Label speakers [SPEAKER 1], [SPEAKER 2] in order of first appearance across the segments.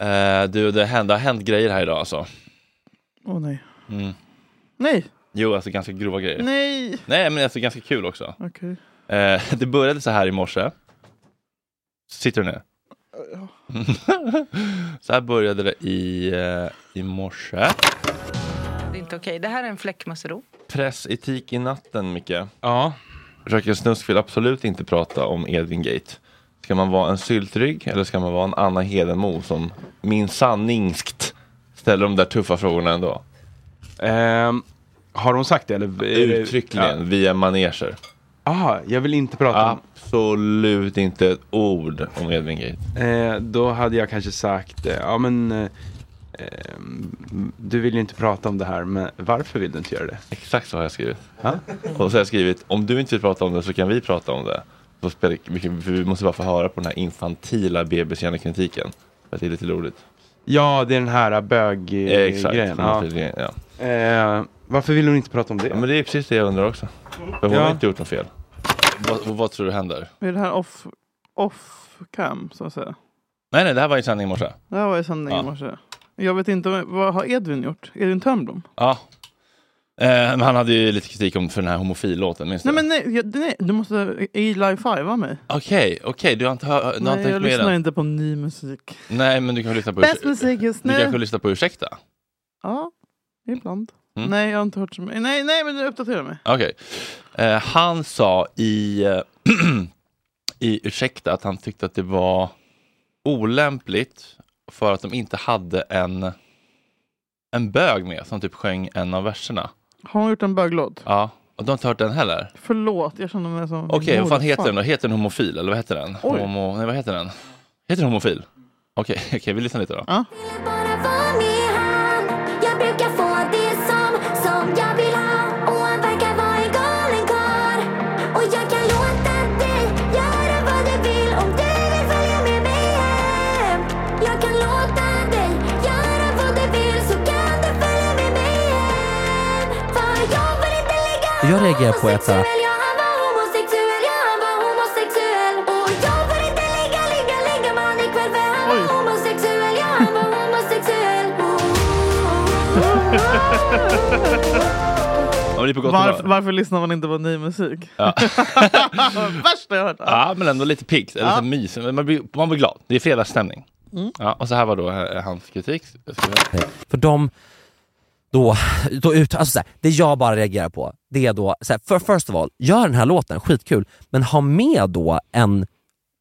[SPEAKER 1] Eh, du, det, händer, det har hänt grejer här idag alltså.
[SPEAKER 2] Åh nej.
[SPEAKER 1] Mm.
[SPEAKER 2] Nej!
[SPEAKER 1] Jo, alltså ganska grova grejer. Nej,
[SPEAKER 2] Nej!
[SPEAKER 1] men alltså ganska kul också.
[SPEAKER 2] Okej.
[SPEAKER 1] Eh, det började så här i morse. Sitter du ner? så här började det i, eh, i morse.
[SPEAKER 3] Det är inte okej. Det här är en fläckmussero.
[SPEAKER 1] Pressetik i natten, Micke.
[SPEAKER 4] Ja.
[SPEAKER 1] Röken Snusk vill absolut inte prata om Edvin Gate. Ska man vara en syltrygg eller ska man vara en Anna Hedenmo som min sanningskt ställer de där tuffa frågorna ändå?
[SPEAKER 4] Ehm, har hon sagt det? Eller?
[SPEAKER 1] Uttryckligen via maneger.
[SPEAKER 4] Ja. Aha, jag vill inte prata om...
[SPEAKER 1] Absolut inte ett ord om Edvin Gate.
[SPEAKER 4] Eh, då hade jag kanske sagt, eh, ja men... Eh, ehm, du vill ju inte prata om det här, men varför vill du inte göra det?
[SPEAKER 1] Exakt så har jag skrivit.
[SPEAKER 4] Ja.
[SPEAKER 1] Och så har jag skrivit, om du inte vill prata om det så kan vi prata om det. Så spelar, vi, kan- vi måste bara få höra på den här infantila bebishjärnekritiken. För att det är lite roligt.
[SPEAKER 4] Ja, det är den här bög-grejen.
[SPEAKER 1] Exakt.
[SPEAKER 4] ja.
[SPEAKER 1] Ja.
[SPEAKER 4] eh, varför vill hon inte prata om det?
[SPEAKER 1] Ja, men det är precis det jag undrar också. För hon
[SPEAKER 4] Ja.
[SPEAKER 1] har inte gjort något fel. Vad, vad tror du händer?
[SPEAKER 2] Är det här off, off cam så att säga?
[SPEAKER 1] Nej, nej, det här var ju sändning i morse.
[SPEAKER 2] Det här var ju sändning
[SPEAKER 1] Ja.
[SPEAKER 2] i morse. Jag vet inte, vad- vad har Edvin gjort? Edvin Törnblom?
[SPEAKER 1] Ja. Eh, men han hade ju lite kritik om, för den här homofil-låten, minns
[SPEAKER 2] Nej
[SPEAKER 1] du?
[SPEAKER 2] men nej, jag, nej du måste Eli-fivea mig.
[SPEAKER 1] Okej, okej, du har inte, hör, du har inte
[SPEAKER 2] Nej,
[SPEAKER 1] hört
[SPEAKER 2] jag
[SPEAKER 1] med den?
[SPEAKER 2] lyssnar inte på ny musik.
[SPEAKER 1] Nej, men du kan väl lyssna på
[SPEAKER 2] Bäst
[SPEAKER 1] Ursäk-
[SPEAKER 2] musik just
[SPEAKER 1] Du kanske
[SPEAKER 2] nu.
[SPEAKER 1] lyssnar på Ursäkta?
[SPEAKER 2] Ja, ibland.
[SPEAKER 1] Mm.
[SPEAKER 2] Nej, jag har inte hört så mycket. Nej, nej, men uppdatera mig.
[SPEAKER 1] Okej. Eh, han sa i, eh, i Ursäkta att han tyckte att det var olämpligt för att de inte hade en, en bög med som typ sjöng en av verserna.
[SPEAKER 2] Har hon gjort en böglåt?
[SPEAKER 1] Ja, och du har inte hört den heller?
[SPEAKER 2] Förlåt, jag känner mig som...
[SPEAKER 1] Okej, vad fan
[SPEAKER 2] Mordfan.
[SPEAKER 1] heter den då? Heter den homofil eller vad heter den?
[SPEAKER 2] Oj.
[SPEAKER 1] Homo, nej, vad heter den? Heter den homofil? Okej, okej, vi lyssnar lite då.
[SPEAKER 2] Ja.
[SPEAKER 5] Bara vara med han Jag brukar få det som, som jag vill ha Och han verkar vara en galen karl Och jag kan låta dig göra vad du vill Om du vill följa med mig hem Jag kan låta dig göra vad du vill Så kan du följa med mig hem För jag vill inte ligga
[SPEAKER 6] Jag reagerar på att-
[SPEAKER 5] homosexuell. Ja, han var homosexuell, ja, han var homosexuell Och jag vill inte ligga, ligga, ligga med han ikväll För han var
[SPEAKER 2] Oj.
[SPEAKER 5] homosexuell, ja han var homosexuell
[SPEAKER 1] Ja, men det är på gott
[SPEAKER 2] Varför,
[SPEAKER 1] humör.
[SPEAKER 2] varför lyssnar man inte på ny musik?
[SPEAKER 1] Ja.
[SPEAKER 2] Värsta jag har hört.
[SPEAKER 1] ja, men ändå lite piggt. eller
[SPEAKER 2] Ja. Mm.
[SPEAKER 1] lite mys. Man blir, man blir glad. Det är fredagsstämning. Ja, och så här var då eh, hans kritik. Jag ska-
[SPEAKER 6] För de då, då ut, alltså så här, det jag bara reagerar på, det är då, så här, för first of all, gör den här låten, skitkul, men ha med då en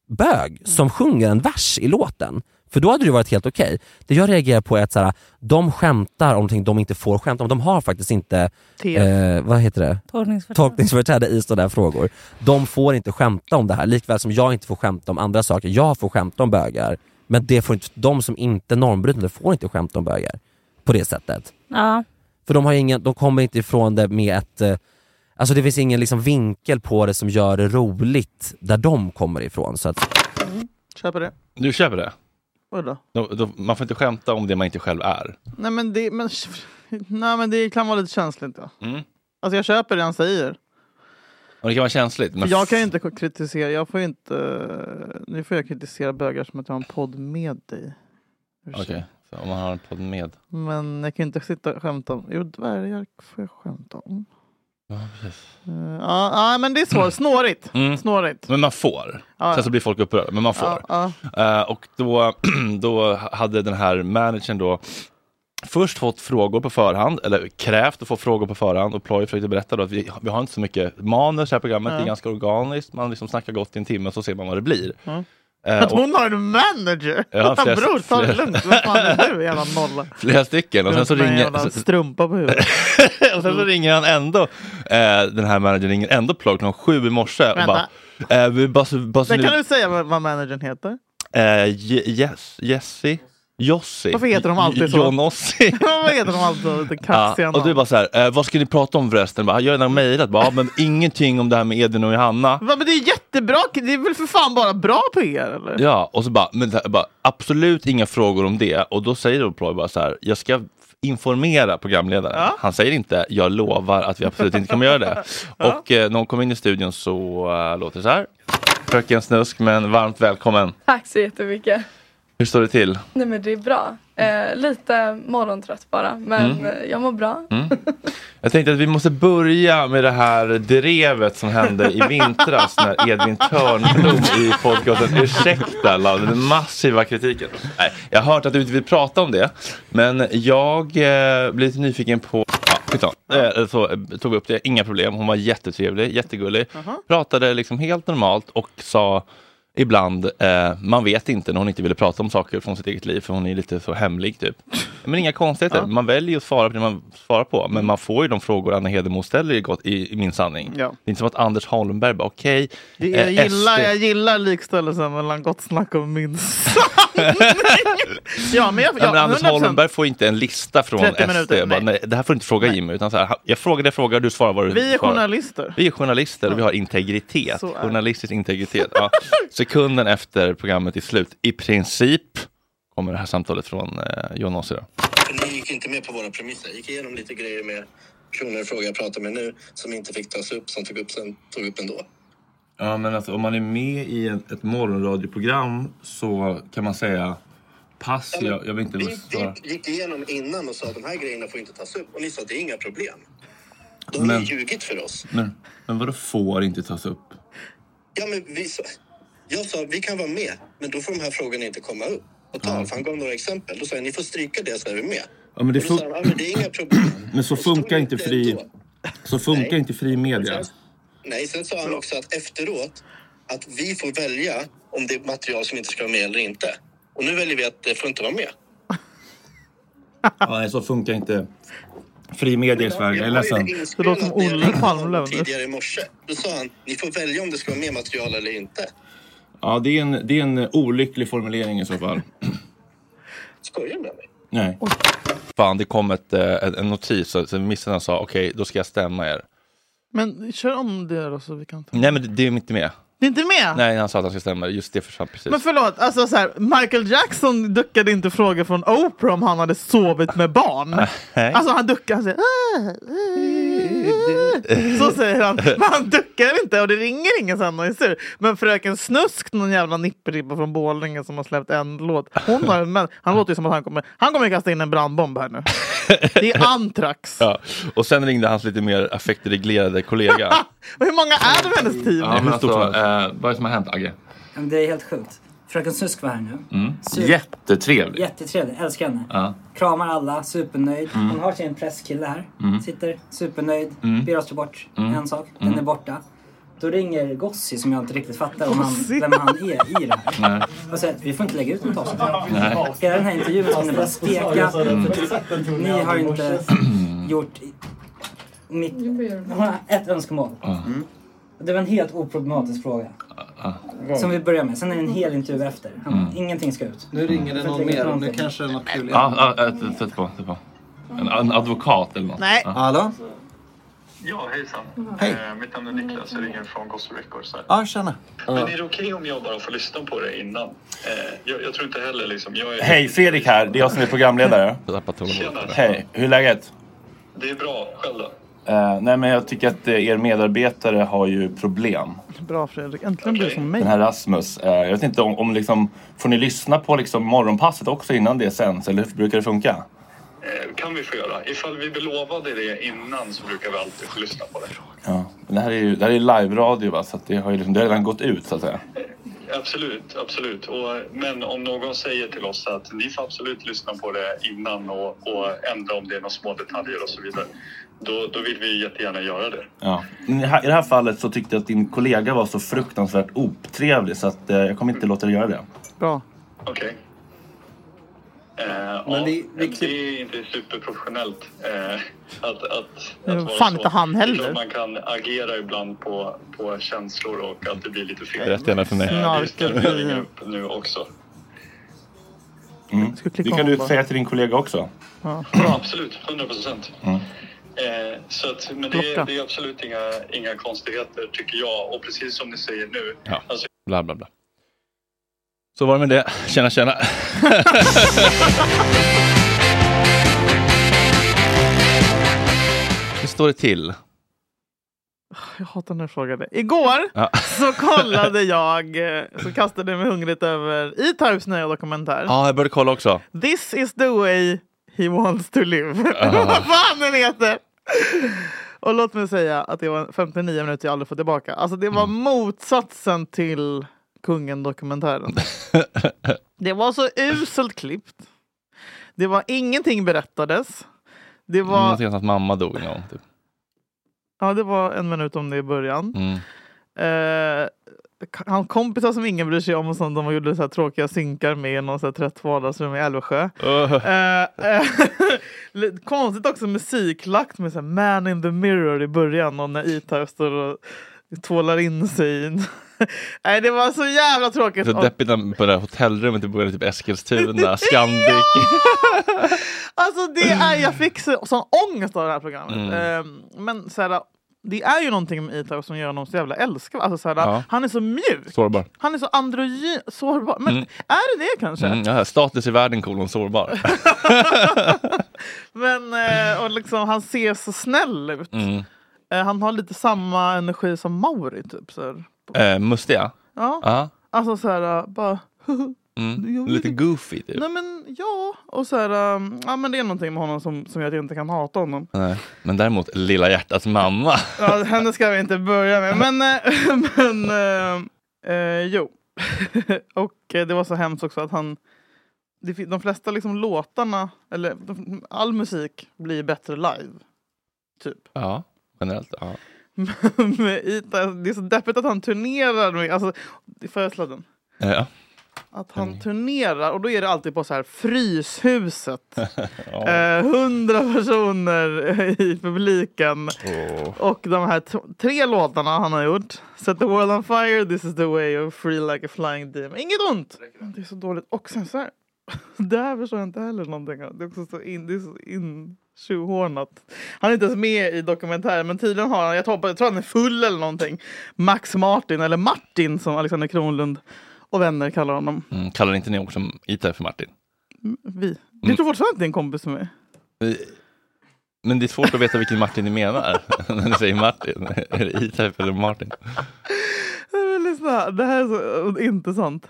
[SPEAKER 6] bög som sjunger en vers i låten. För då hade det ju varit helt okej. Det jag reagerar på är att så här, de skämtar om någonting de inte får skämta om. De har faktiskt inte,
[SPEAKER 2] Te.
[SPEAKER 6] eh, vad heter det?
[SPEAKER 3] Tolkningsföretag.
[SPEAKER 6] tolkningsföreträde i sådana här frågor. De får inte skämta om det här, likväl som jag inte får skämta om andra saker. Jag får skämta om bögar, men det får inte, de som inte är normbrytande får inte skämta om bögar på det sättet.
[SPEAKER 3] Ja.
[SPEAKER 6] För de, har ingen, de kommer inte ifrån det med ett... eh, Alltså det finns ingen liksom vinkel på det som gör det roligt där de kommer ifrån. Så att,
[SPEAKER 2] Köper det.
[SPEAKER 1] Du köper det?
[SPEAKER 2] Vadå?
[SPEAKER 1] Då, då, man får inte skämta om det man inte själv är.
[SPEAKER 2] Nej men det, men, nej, men det kan vara lite känsligt. Ja.
[SPEAKER 1] Mm.
[SPEAKER 2] Alltså jag köper det han säger.
[SPEAKER 1] Och det kan vara känsligt.
[SPEAKER 2] För
[SPEAKER 1] Men
[SPEAKER 2] jag kan ju inte kritisera, jag får ju inte... Nu får jag kritisera bögar som att jag har en podd med dig.
[SPEAKER 1] Okej, så om man har en podd med.
[SPEAKER 2] Men jag kan ju inte sitta och skämta om... Jo, dvärgar får jag skämta om.
[SPEAKER 1] Ja, precis.
[SPEAKER 2] Eh, Ja, ja, men det är svårt. Snårigt.
[SPEAKER 1] Mm.
[SPEAKER 2] Snårigt.
[SPEAKER 1] Men man får.
[SPEAKER 2] Ja, ja.
[SPEAKER 1] Sen så blir folk upprörda, men man får.
[SPEAKER 2] Ja, ja.
[SPEAKER 1] Eh, och då, då hade den här managern då först fått frågor på förhand, eller krävt att få frågor på förhand. Och Ploy försökte berätta då att vi, vi har inte så mycket manus i det här programmet, det
[SPEAKER 2] Ja.
[SPEAKER 1] är ganska organiskt. Man liksom snackar gott i en timme, så ser man vad det blir.
[SPEAKER 2] Ja.
[SPEAKER 1] Eh,
[SPEAKER 2] Att
[SPEAKER 1] och
[SPEAKER 2] hon har en manager!
[SPEAKER 1] Ja, flera-
[SPEAKER 2] Bror, ta det
[SPEAKER 1] flera-
[SPEAKER 2] lugnt. Vad fan är du, jävla nolla?
[SPEAKER 1] flera stycken. Och sen så
[SPEAKER 2] Runt med en
[SPEAKER 1] ringer...
[SPEAKER 2] jävla Strumpa på huvudet.
[SPEAKER 1] och sen så ringer han ändå, eh, den här managern ringer ändå Ploy klockan sju i morse och
[SPEAKER 2] Vänta.
[SPEAKER 1] bara... Eh, vi bara, bara,
[SPEAKER 2] Sen kan du säga vad, vad managern heter.
[SPEAKER 1] Eh, Je- yes, Jesse? Jossi?
[SPEAKER 2] Varför heter de alltid så?
[SPEAKER 1] Johnossi?
[SPEAKER 2] vad heter de alltid? Lite
[SPEAKER 1] Ja,
[SPEAKER 2] kaxiga
[SPEAKER 1] och du
[SPEAKER 2] namn.
[SPEAKER 1] bara så här, eh, vad ska ni prata om förresten? Bara, jag har redan mejlat, bara, ja, men ingenting om det här med Edvin och Johanna.
[SPEAKER 2] Va, men det är jättebra. Det är väl för fan bara bra PR, eller?
[SPEAKER 1] Ja, och så bara, men det här, bara, absolut inga frågor om det. Och då säger då Ploy bara så här, jag ska informera programledaren.
[SPEAKER 2] Ja.
[SPEAKER 1] Han säger inte, jag lovar att vi absolut inte kommer göra det. Och eh, när hon kom in i studion så eh, låter det så här. Fröken Snusk, men varmt välkommen.
[SPEAKER 7] Tack så jättemycket.
[SPEAKER 1] Hur står det till?
[SPEAKER 7] Nej men det är bra. Eh, lite morgontrött bara men
[SPEAKER 1] Mm.
[SPEAKER 7] eh, jag mår bra.
[SPEAKER 1] Jag tänkte att vi måste börja med det här drevet som hände i vintras när Edvin Törnblom i podcasten Ursäkta Lalle, den massiva kritiken. Nej, jag har hört att du inte vill prata om det, men jag eh, blir lite nyfiken på Ja, skitsamma. eh, så, eh, tog upp det, inga problem. Hon var jättetrevlig, jättegullig. Pratade liksom helt normalt och sa ibland, eh, man vet inte när hon inte ville prata om saker från sitt eget liv för hon är lite så hemlig typ. Men inga konstigheter, man väljer ju att svara på det man svarar på. Men man får ju de frågor Anna Hedemo ställer i, gott, i, i Min sanning.
[SPEAKER 2] Mm. Ja.
[SPEAKER 1] Det är inte som att Anders Holmberg bara okej,
[SPEAKER 2] Det- Jag
[SPEAKER 1] eh,
[SPEAKER 2] gillar,
[SPEAKER 1] SD
[SPEAKER 2] jag gillar likställelsen mellan gott snack och min sanning. ja, men
[SPEAKER 1] Ja,
[SPEAKER 2] jag,
[SPEAKER 1] men
[SPEAKER 2] ja,
[SPEAKER 1] Anders
[SPEAKER 2] 100%.
[SPEAKER 1] Holmberg får inte en lista från
[SPEAKER 2] 30
[SPEAKER 1] SD.
[SPEAKER 2] minuter,
[SPEAKER 1] bara,
[SPEAKER 2] nej.
[SPEAKER 1] nej, det här får du inte fråga Jimmy. Utan så här, jag frågar det jag frågar, du svarar vad du
[SPEAKER 2] Vi är
[SPEAKER 1] svarar.
[SPEAKER 2] journalister.
[SPEAKER 1] Vi är journalister och vi har integritet.
[SPEAKER 2] Så är det.
[SPEAKER 1] Journalistisk integritet. Ja. Sekunden efter programmet är slut, i princip, kommer det här samtalet från eh, Jonas idag.
[SPEAKER 8] Ni gick inte med på våra premisser. Jag gick igenom lite grejer med personer i fråga jag pratar med nu som inte fick tas upp, som tog upp, sen, tog upp ändå.
[SPEAKER 1] Mm. Ja, men alltså, om man är med i ett, ett morgonradioprogram så kan man säga pass, jag, jag vill inte
[SPEAKER 8] Vi, vi gick igenom innan och sa att de här grejerna får inte tas upp och ni sa att det är inga problem. Då har
[SPEAKER 1] Men-
[SPEAKER 8] ni ljugit för oss.
[SPEAKER 1] Men, men vadå får inte tas upp?
[SPEAKER 8] Ja, men vi sa, jag sa vi kan vara med, men då får de här frågorna inte komma upp. Och tal, för han gav några exempel. Då sa jag ni får stryka det så är vi med.
[SPEAKER 1] Ja, men det
[SPEAKER 8] och då
[SPEAKER 1] fun-
[SPEAKER 8] sa han, ja, men det är inga problem.
[SPEAKER 1] Men så funkar inte Alltså- fri, så funkar
[SPEAKER 8] Nej.
[SPEAKER 1] inte fri media.
[SPEAKER 8] Nej, sen sa han också att efteråt att vi får välja om det är material som inte ska vara med eller inte. Och nu väljer vi att det får inte vara med.
[SPEAKER 1] Ja, nej, så funkar inte fri media i Sverige. Jag är ledsen.
[SPEAKER 2] Det låter som Olle Palmlöv.
[SPEAKER 8] Tidigare i morse, då sa han ni får välja om det ska vara med material eller inte.
[SPEAKER 1] Ja, det är, en, det är en olycklig formulering i så fall.
[SPEAKER 8] Skojar du med mig?
[SPEAKER 1] Nej. Fan, det kom ett, eh, en en notis. så- så Missarna sa okej, då ska jag stämma er.
[SPEAKER 2] Men kör om det då så vi kan ta.
[SPEAKER 1] Nej, men det, det är inte med.
[SPEAKER 2] Det är inte med?
[SPEAKER 1] Mm. Nej, han sa att han ska stämma er. Just det försvann precis.
[SPEAKER 2] Men förlåt, alltså så här, Michael Jackson duckade inte frågor från Oprah om han hade sovit med barn.
[SPEAKER 1] Ah, Nej.
[SPEAKER 2] Alltså han duckar, han säger "Ah, ah." Så säger han, men han duckar inte och det ringer ingen sen och är sur. Men Fröken Snusk, någon jävla nippribba från Borlänge som har släppt en låt. Hon har en man, han låter ju som att han kommer, han kommer kasta in en brandbomb här nu. Det är Antrax.
[SPEAKER 1] Ja. Och sen ringde hans lite mer affektreglerade kollega.
[SPEAKER 2] Och hur många är det med hennes team?
[SPEAKER 1] ja, men alltså, eh, vad är det som har hänt, Agge?
[SPEAKER 9] Men Det är helt sjukt. Fröken Snusk var här nu.
[SPEAKER 1] Mm.
[SPEAKER 9] Super-
[SPEAKER 1] Jättetrevlig.
[SPEAKER 9] Jättetrevlig, älskar henne.
[SPEAKER 1] Ja.
[SPEAKER 9] Kramar alla, supernöjd.
[SPEAKER 1] Mm.
[SPEAKER 9] Hon har sin presskille här.
[SPEAKER 1] Mm.
[SPEAKER 9] Sitter supernöjd,
[SPEAKER 1] Mm.
[SPEAKER 9] ber oss ta bort
[SPEAKER 1] Mm.
[SPEAKER 9] en sak. Den
[SPEAKER 1] Mm.
[SPEAKER 9] är borta. Då ringer Gossi som jag inte riktigt fattar om han,
[SPEAKER 10] Gossi?
[SPEAKER 9] vem han är i det här.
[SPEAKER 1] Nej.
[SPEAKER 9] Och säger att vi får inte lägga ut något avsnitt.
[SPEAKER 1] Nej.
[SPEAKER 9] Hela den här intervjun ska ni bara steka.
[SPEAKER 1] Mm.
[SPEAKER 9] För typ, ni har ju inte gjort i- mitt... Jag har ett önskemål. Mm. Det var en helt oproblematisk fråga. Som vi börjar med. Sen är det en hel intervju efter. Han,
[SPEAKER 1] Ah, Mm.
[SPEAKER 9] Ingenting ska ut.
[SPEAKER 11] Nu ringer det
[SPEAKER 9] För att
[SPEAKER 11] någon
[SPEAKER 9] lägga ut
[SPEAKER 11] mer och nu
[SPEAKER 9] någonting.
[SPEAKER 11] kanske det är något kul igen.
[SPEAKER 1] Ja, ja, ja, sätt på. Sätt på. En, en advokat eller något.
[SPEAKER 11] Nej.
[SPEAKER 1] Ja.
[SPEAKER 11] Hallå?
[SPEAKER 12] Ja, hejsan. Eh, mitt namn är Niklas, jag ringer från Gospel Records. Här.
[SPEAKER 11] Ja, tjena.
[SPEAKER 12] Men är det okej om jag bara får lyssna på det innan? Eh, jag, jag tror inte heller liksom... Jag är...
[SPEAKER 1] Hej, Fredrik här. Det är jag som är programledare. Hej, hur är läget?
[SPEAKER 12] Det är bra, själv då?
[SPEAKER 1] Eh, nej, men jag tycker att eh, er medarbetare har ju problem.
[SPEAKER 2] Bra Fredrik, äntligen blir du som mig.
[SPEAKER 1] Den här Rasmus. Eh, jag vet inte om, om liksom, får ni lyssna på liksom morgonpasset också innan det sänds? Eller hur brukar det funka?
[SPEAKER 12] eh, kan vi få göra. Ifall vi blir lovade det innan så brukar vi alltid få lyssna på det.
[SPEAKER 1] Ja. Men Det här är ju det här är live-radio va, så att det har ju liksom, det har redan gått ut så att säga.
[SPEAKER 12] Absolut, absolut. Och, men om någon säger till oss att ni får absolut lyssna på det innan och, och ändra om det är några små detaljer och så vidare. Då, då vill vi jättegärna göra det.
[SPEAKER 1] Ja. I det här- i det här fallet så tyckte jag att din kollega var så fruktansvärt otrevlig så att eh, jag kommer inte låta dig göra det.
[SPEAKER 2] Bra.
[SPEAKER 12] Okej. Eh, ja, vi, det är inte superprofessionellt eh, att, att,
[SPEAKER 2] Det
[SPEAKER 12] att
[SPEAKER 2] var fan inte han
[SPEAKER 12] Det är
[SPEAKER 2] heller.
[SPEAKER 12] klart Man kan agera ibland på, på känslor och att det blir lite fel.
[SPEAKER 1] Berätta gärna för mig.
[SPEAKER 12] Eh, det ska vi
[SPEAKER 1] Snarkar.
[SPEAKER 12] ringa upp nu också.
[SPEAKER 1] Mm. Det
[SPEAKER 12] av
[SPEAKER 1] kan du
[SPEAKER 12] bara.
[SPEAKER 1] säga till din kollega också.
[SPEAKER 12] Absolut, 100 procent.
[SPEAKER 1] Mm.
[SPEAKER 12] Eh, så att, men det,
[SPEAKER 1] Plocka.
[SPEAKER 12] är- det är absolut inga, inga konstigheter tycker jag. Och precis som ni säger nu.
[SPEAKER 1] Ja.
[SPEAKER 12] Alltså,
[SPEAKER 1] Bla, bla, bla. Så var det med det. Tjena, tjena. Hur står det till?
[SPEAKER 2] Jag hatar när du frågar det. Igår
[SPEAKER 1] Ja.
[SPEAKER 2] så kollade jag, eh, så kastade jag mig hungrigt över i Tarps nya dokumentär.
[SPEAKER 1] Ja, jag började kolla också.
[SPEAKER 2] This is the way he wants to live.
[SPEAKER 1] Ah.
[SPEAKER 2] Vad fan den heter! Och låt mig säga att det var 59 minuter jag aldrig får tillbaka. Alltså det var
[SPEAKER 1] Mm.
[SPEAKER 2] motsatsen till Kungen-dokumentären. det var så uselt klippt. Det var ingenting berättades. Det var,
[SPEAKER 1] Någonting om att mamma dog någon gång. Typ.
[SPEAKER 2] ja, det var en minut om det i början.
[SPEAKER 1] Mm.
[SPEAKER 2] Eh, k- han kompisar som ingen bryr sig om och som de gjorde så här tråkiga synkar med i någon så här trött vardagsrum i Älvsjö.
[SPEAKER 1] Uh.
[SPEAKER 2] Eh, eh, lite konstigt också musiklagt med så här Man in the mirror i början och när Itar står och tvålar in sig. i en- Nej, det var så jävla tråkigt.
[SPEAKER 1] Så
[SPEAKER 2] Och-
[SPEAKER 1] deppigt när- på det här hotellrummet i början, typ Eskilstuna, Scandic.
[SPEAKER 2] Alltså det är, jag fick så, sån ångest av det här programmet.
[SPEAKER 1] Mm.
[SPEAKER 2] Ehm, men så här, det är ju någonting med Itar som gör honom så jävla älskad. Alltså, så här,
[SPEAKER 1] Ja.
[SPEAKER 2] Han är så mjuk.
[SPEAKER 1] Sårbar.
[SPEAKER 2] Han är så androgyn, sårbar. Men
[SPEAKER 1] Mm.
[SPEAKER 2] är det det kanske?
[SPEAKER 1] Mm, ja, status i världen, kolon, sårbar.
[SPEAKER 2] Men, eh, och liksom, han ser så snäll ut.
[SPEAKER 1] Mm.
[SPEAKER 2] Eh, han har lite samma energi som Mauri typ. Så här.
[SPEAKER 1] Eh, mustiga?
[SPEAKER 2] Ja.
[SPEAKER 1] Ja.
[SPEAKER 2] Alltså så här, eh, bara...
[SPEAKER 1] Mm. Lite goofy, typ.
[SPEAKER 2] Nej men ja, och så här, eh, ja, men det är någonting med honom som, som gör att jag inte kan hata honom.
[SPEAKER 1] Nej. Eh, Men däremot Lilla hjärtats mamma.
[SPEAKER 2] Ja, henne ska vi inte börja med. Men, eh, men eh, eh, jo. och eh, det var så hemskt också att han... Det, fin- de flesta liksom låtarna, eller de, all musik blir bättre live. Typ.
[SPEAKER 1] Ja, generellt. Ja.
[SPEAKER 2] med Ita. Det är så deppigt att han turnerar med... Alltså, får jag slå den?
[SPEAKER 1] Ja. Mm.
[SPEAKER 2] Att han turnerar och då är det alltid på så här Fryshuset. Eh,
[SPEAKER 1] Ja.
[SPEAKER 2] Hundra personer eh, i publiken. Och de här t- tre låtarna han har gjort. Set the world on fire, This is the way of free like a flying demon. Inget ont! Men Det är så dåligt. Och sen så här. Det här förstår jag inte heller någonting av. Det är också så in... Det är så in tjohornat. Han är inte ens med i dokumentären men tydligen har han, jag tror, jag tror han är full eller någonting. Max Martin, eller Martin som Alexander Kronlund och vänner kallar honom.
[SPEAKER 1] Mm, kallar inte ni också Ita för Martin?
[SPEAKER 2] Vi. Du tror fortfarande att det är en kompis med mig?
[SPEAKER 1] Men det är svårt att veta vilken Martin ni menar när ni säger Martin. Är det Ita eller Martin?
[SPEAKER 2] Nej, men lyssna, det här är så eh, inte sant.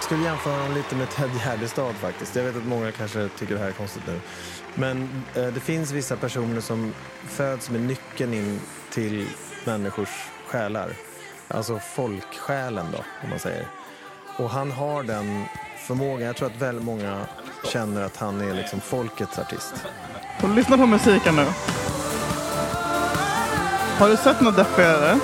[SPEAKER 10] skulle jämföra honom lite med Ted Gärdestad faktiskt. Jag vet att många kanske tycker det här är konstigt nu. Men eh, det finns vissa personer som föds med nyckeln in till människors själar. Alltså folksjälen då, om man säger. Och han har den förmågan. Jag tror att väldigt många känner att han är liksom folkets artist.
[SPEAKER 2] Så lyssna på musiken nu. Har du sett något deppigare?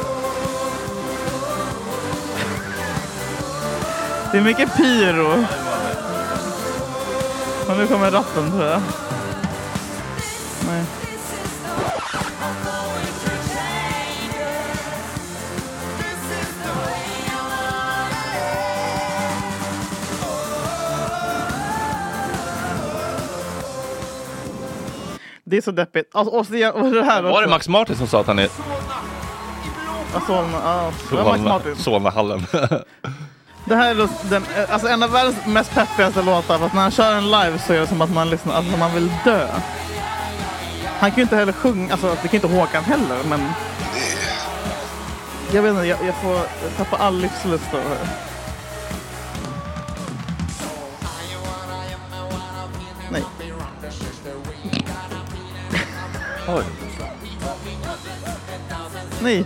[SPEAKER 2] Det är mycket pyro. Och nu kommer ratten tror jag. Nej. Det är så deppigt. Alltså, och, så, och det här
[SPEAKER 1] Var det
[SPEAKER 2] också.
[SPEAKER 1] Max Martin som sa att han är
[SPEAKER 2] Ja, Solna, Alltså, ja. Det var Max
[SPEAKER 1] Solna-
[SPEAKER 2] Martin.
[SPEAKER 1] Solnahallen?
[SPEAKER 2] Det här är då den, alltså en av världens mest peppigaste låtar. För att när han kör en live så är det som att man, lyssnar, alltså man vill dö. Han kan ju inte heller sjunga, alltså det kan ju inte Håkan heller men... Jag vet inte, jag, jag får tappa all livslust av det här.
[SPEAKER 1] Oj.
[SPEAKER 2] Nej.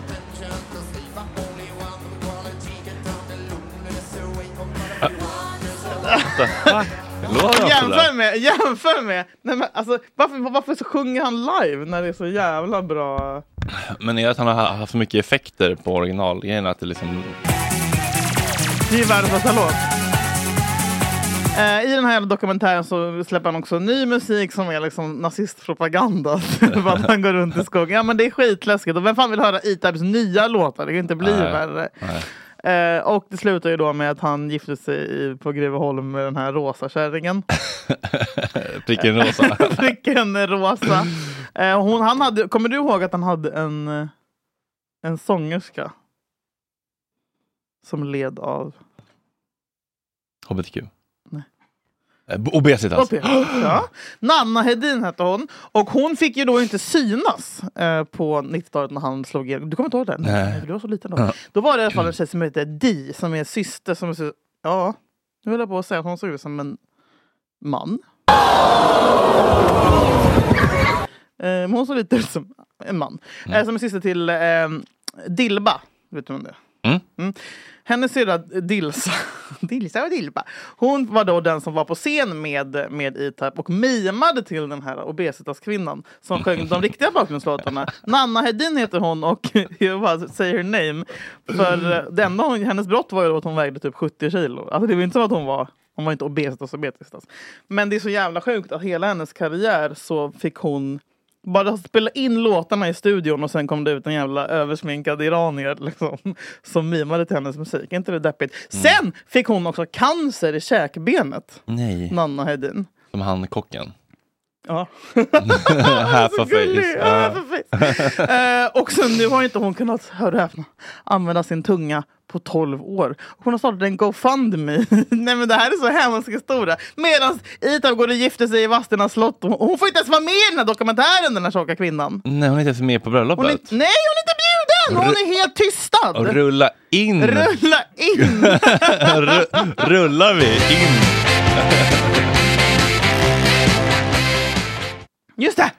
[SPEAKER 1] Låter han
[SPEAKER 2] Jämför
[SPEAKER 1] sådär?
[SPEAKER 2] med, jämför med! Nej, men alltså, varför, varför så sjunger han live när det är så jävla bra?
[SPEAKER 1] Men är det att han har haft så mycket effekter på originalgrejen att det liksom...
[SPEAKER 2] Det är ju världens bästa låt. Eh, I den här dokumentären så släpper han också ny musik som är liksom nazistpropaganda. Bara att han går runt i skogen. Ja men det är skitläskigt. Och vem fan vill höra E-Types nya låtar? Det kan ju inte bli
[SPEAKER 1] Nej.
[SPEAKER 2] värre.
[SPEAKER 1] Nej.
[SPEAKER 2] Eh, och det slutar ju då med att han gifte sig i, på Greveholm med den här rosa kärringen.
[SPEAKER 1] Pricken rosa.
[SPEAKER 2] Pricken rosa. Eh, hon, han hade, kommer du ihåg att han hade en, eh, en sångerska? Som led av...
[SPEAKER 1] HBTQ. Nej. Obesitas.
[SPEAKER 2] Opioid. Ja. Nanna Hedin hette hon. Och hon fick ju då inte synas eh, på 90-talet när han slog igenom. Du kommer inte ihåg det?
[SPEAKER 1] Nej.
[SPEAKER 2] Du var så liten då.
[SPEAKER 1] Ja.
[SPEAKER 2] Då var det i alla fall en tjej som hette Di, som är syster som... är så- Ja, nu höll jag på att säga att hon såg ut som en man. Eh, men hon såg lite ut som en man.
[SPEAKER 1] Mm.
[SPEAKER 2] Eh, som är syster till eh, Dilba. Vet du vem det är?
[SPEAKER 1] Mm.
[SPEAKER 2] Mm. Hennes syrra Dilsa, Dilsa och Dilba, hon var då den som var på scen med, med E-Type och mimade till den här obesitaskvinnan som sjöng de riktiga bakgrundslåtarna. Nanna Hedin heter hon och jag bara säger her name. För eh, det enda hon, hennes brott var ju då att hon vägde typ 70 kilo. Alltså det var ju inte som att hon var hon var inte obesitas obesitas. Men det är så jävla sjukt att hela hennes karriär så fick hon bara spela in låtarna i studion och sen kom det ut en jävla översminkad iranier liksom, som mimade till hennes musik. Är inte det deppigt? Sen fick hon också cancer i käkbenet,
[SPEAKER 1] Nej.
[SPEAKER 2] Nanna Hedin.
[SPEAKER 1] Som han kocken.
[SPEAKER 2] Ja.
[SPEAKER 1] Half a
[SPEAKER 2] gullig.
[SPEAKER 1] face.
[SPEAKER 2] Ja,
[SPEAKER 1] Ja.
[SPEAKER 2] half a Eh, och sen nu har inte hon kunnat, hör och häpna, använda sin tunga på 12 år. Och Hon har startat en GoFundMe. Nej men det här är så hemsk historia. Medan Itab går och gifter sig i Vadstena slott. Och hon får inte ens vara med i den här dokumentären den här tjocka kvinnan.
[SPEAKER 1] Nej, hon är inte ens med på
[SPEAKER 2] Hon är, nej
[SPEAKER 1] bröllopet.
[SPEAKER 2] hon är inte bjuden! Hon är helt tystad!
[SPEAKER 1] Och rulla in.
[SPEAKER 2] Rulla in!
[SPEAKER 1] Ru- Rullar vi in.
[SPEAKER 2] Just det!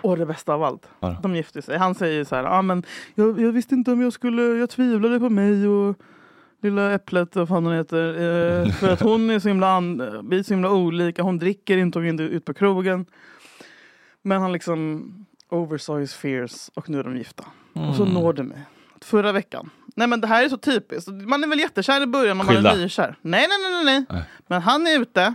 [SPEAKER 2] Och det bästa av allt.
[SPEAKER 1] Ah. Vadå?
[SPEAKER 2] De gifte sig. Han säger ju så här, ah, men jag, jag visste inte om jag skulle, jag tvivlade på mig och lilla äpplet, vad fan hon heter. Eh, för att hon är så himla, an, vi är så himla olika, hon dricker inte och går inte ut på krogen. Men han liksom oversaw his fears och nu är de gifta. Och så
[SPEAKER 1] Mm.
[SPEAKER 2] når det mig. Förra veckan. Nej men det här är så typiskt. Man är väl jättekär i början om man
[SPEAKER 1] Skilda.
[SPEAKER 2] är nykär. Nej, nej, nej, nej, nej. Men han är ute.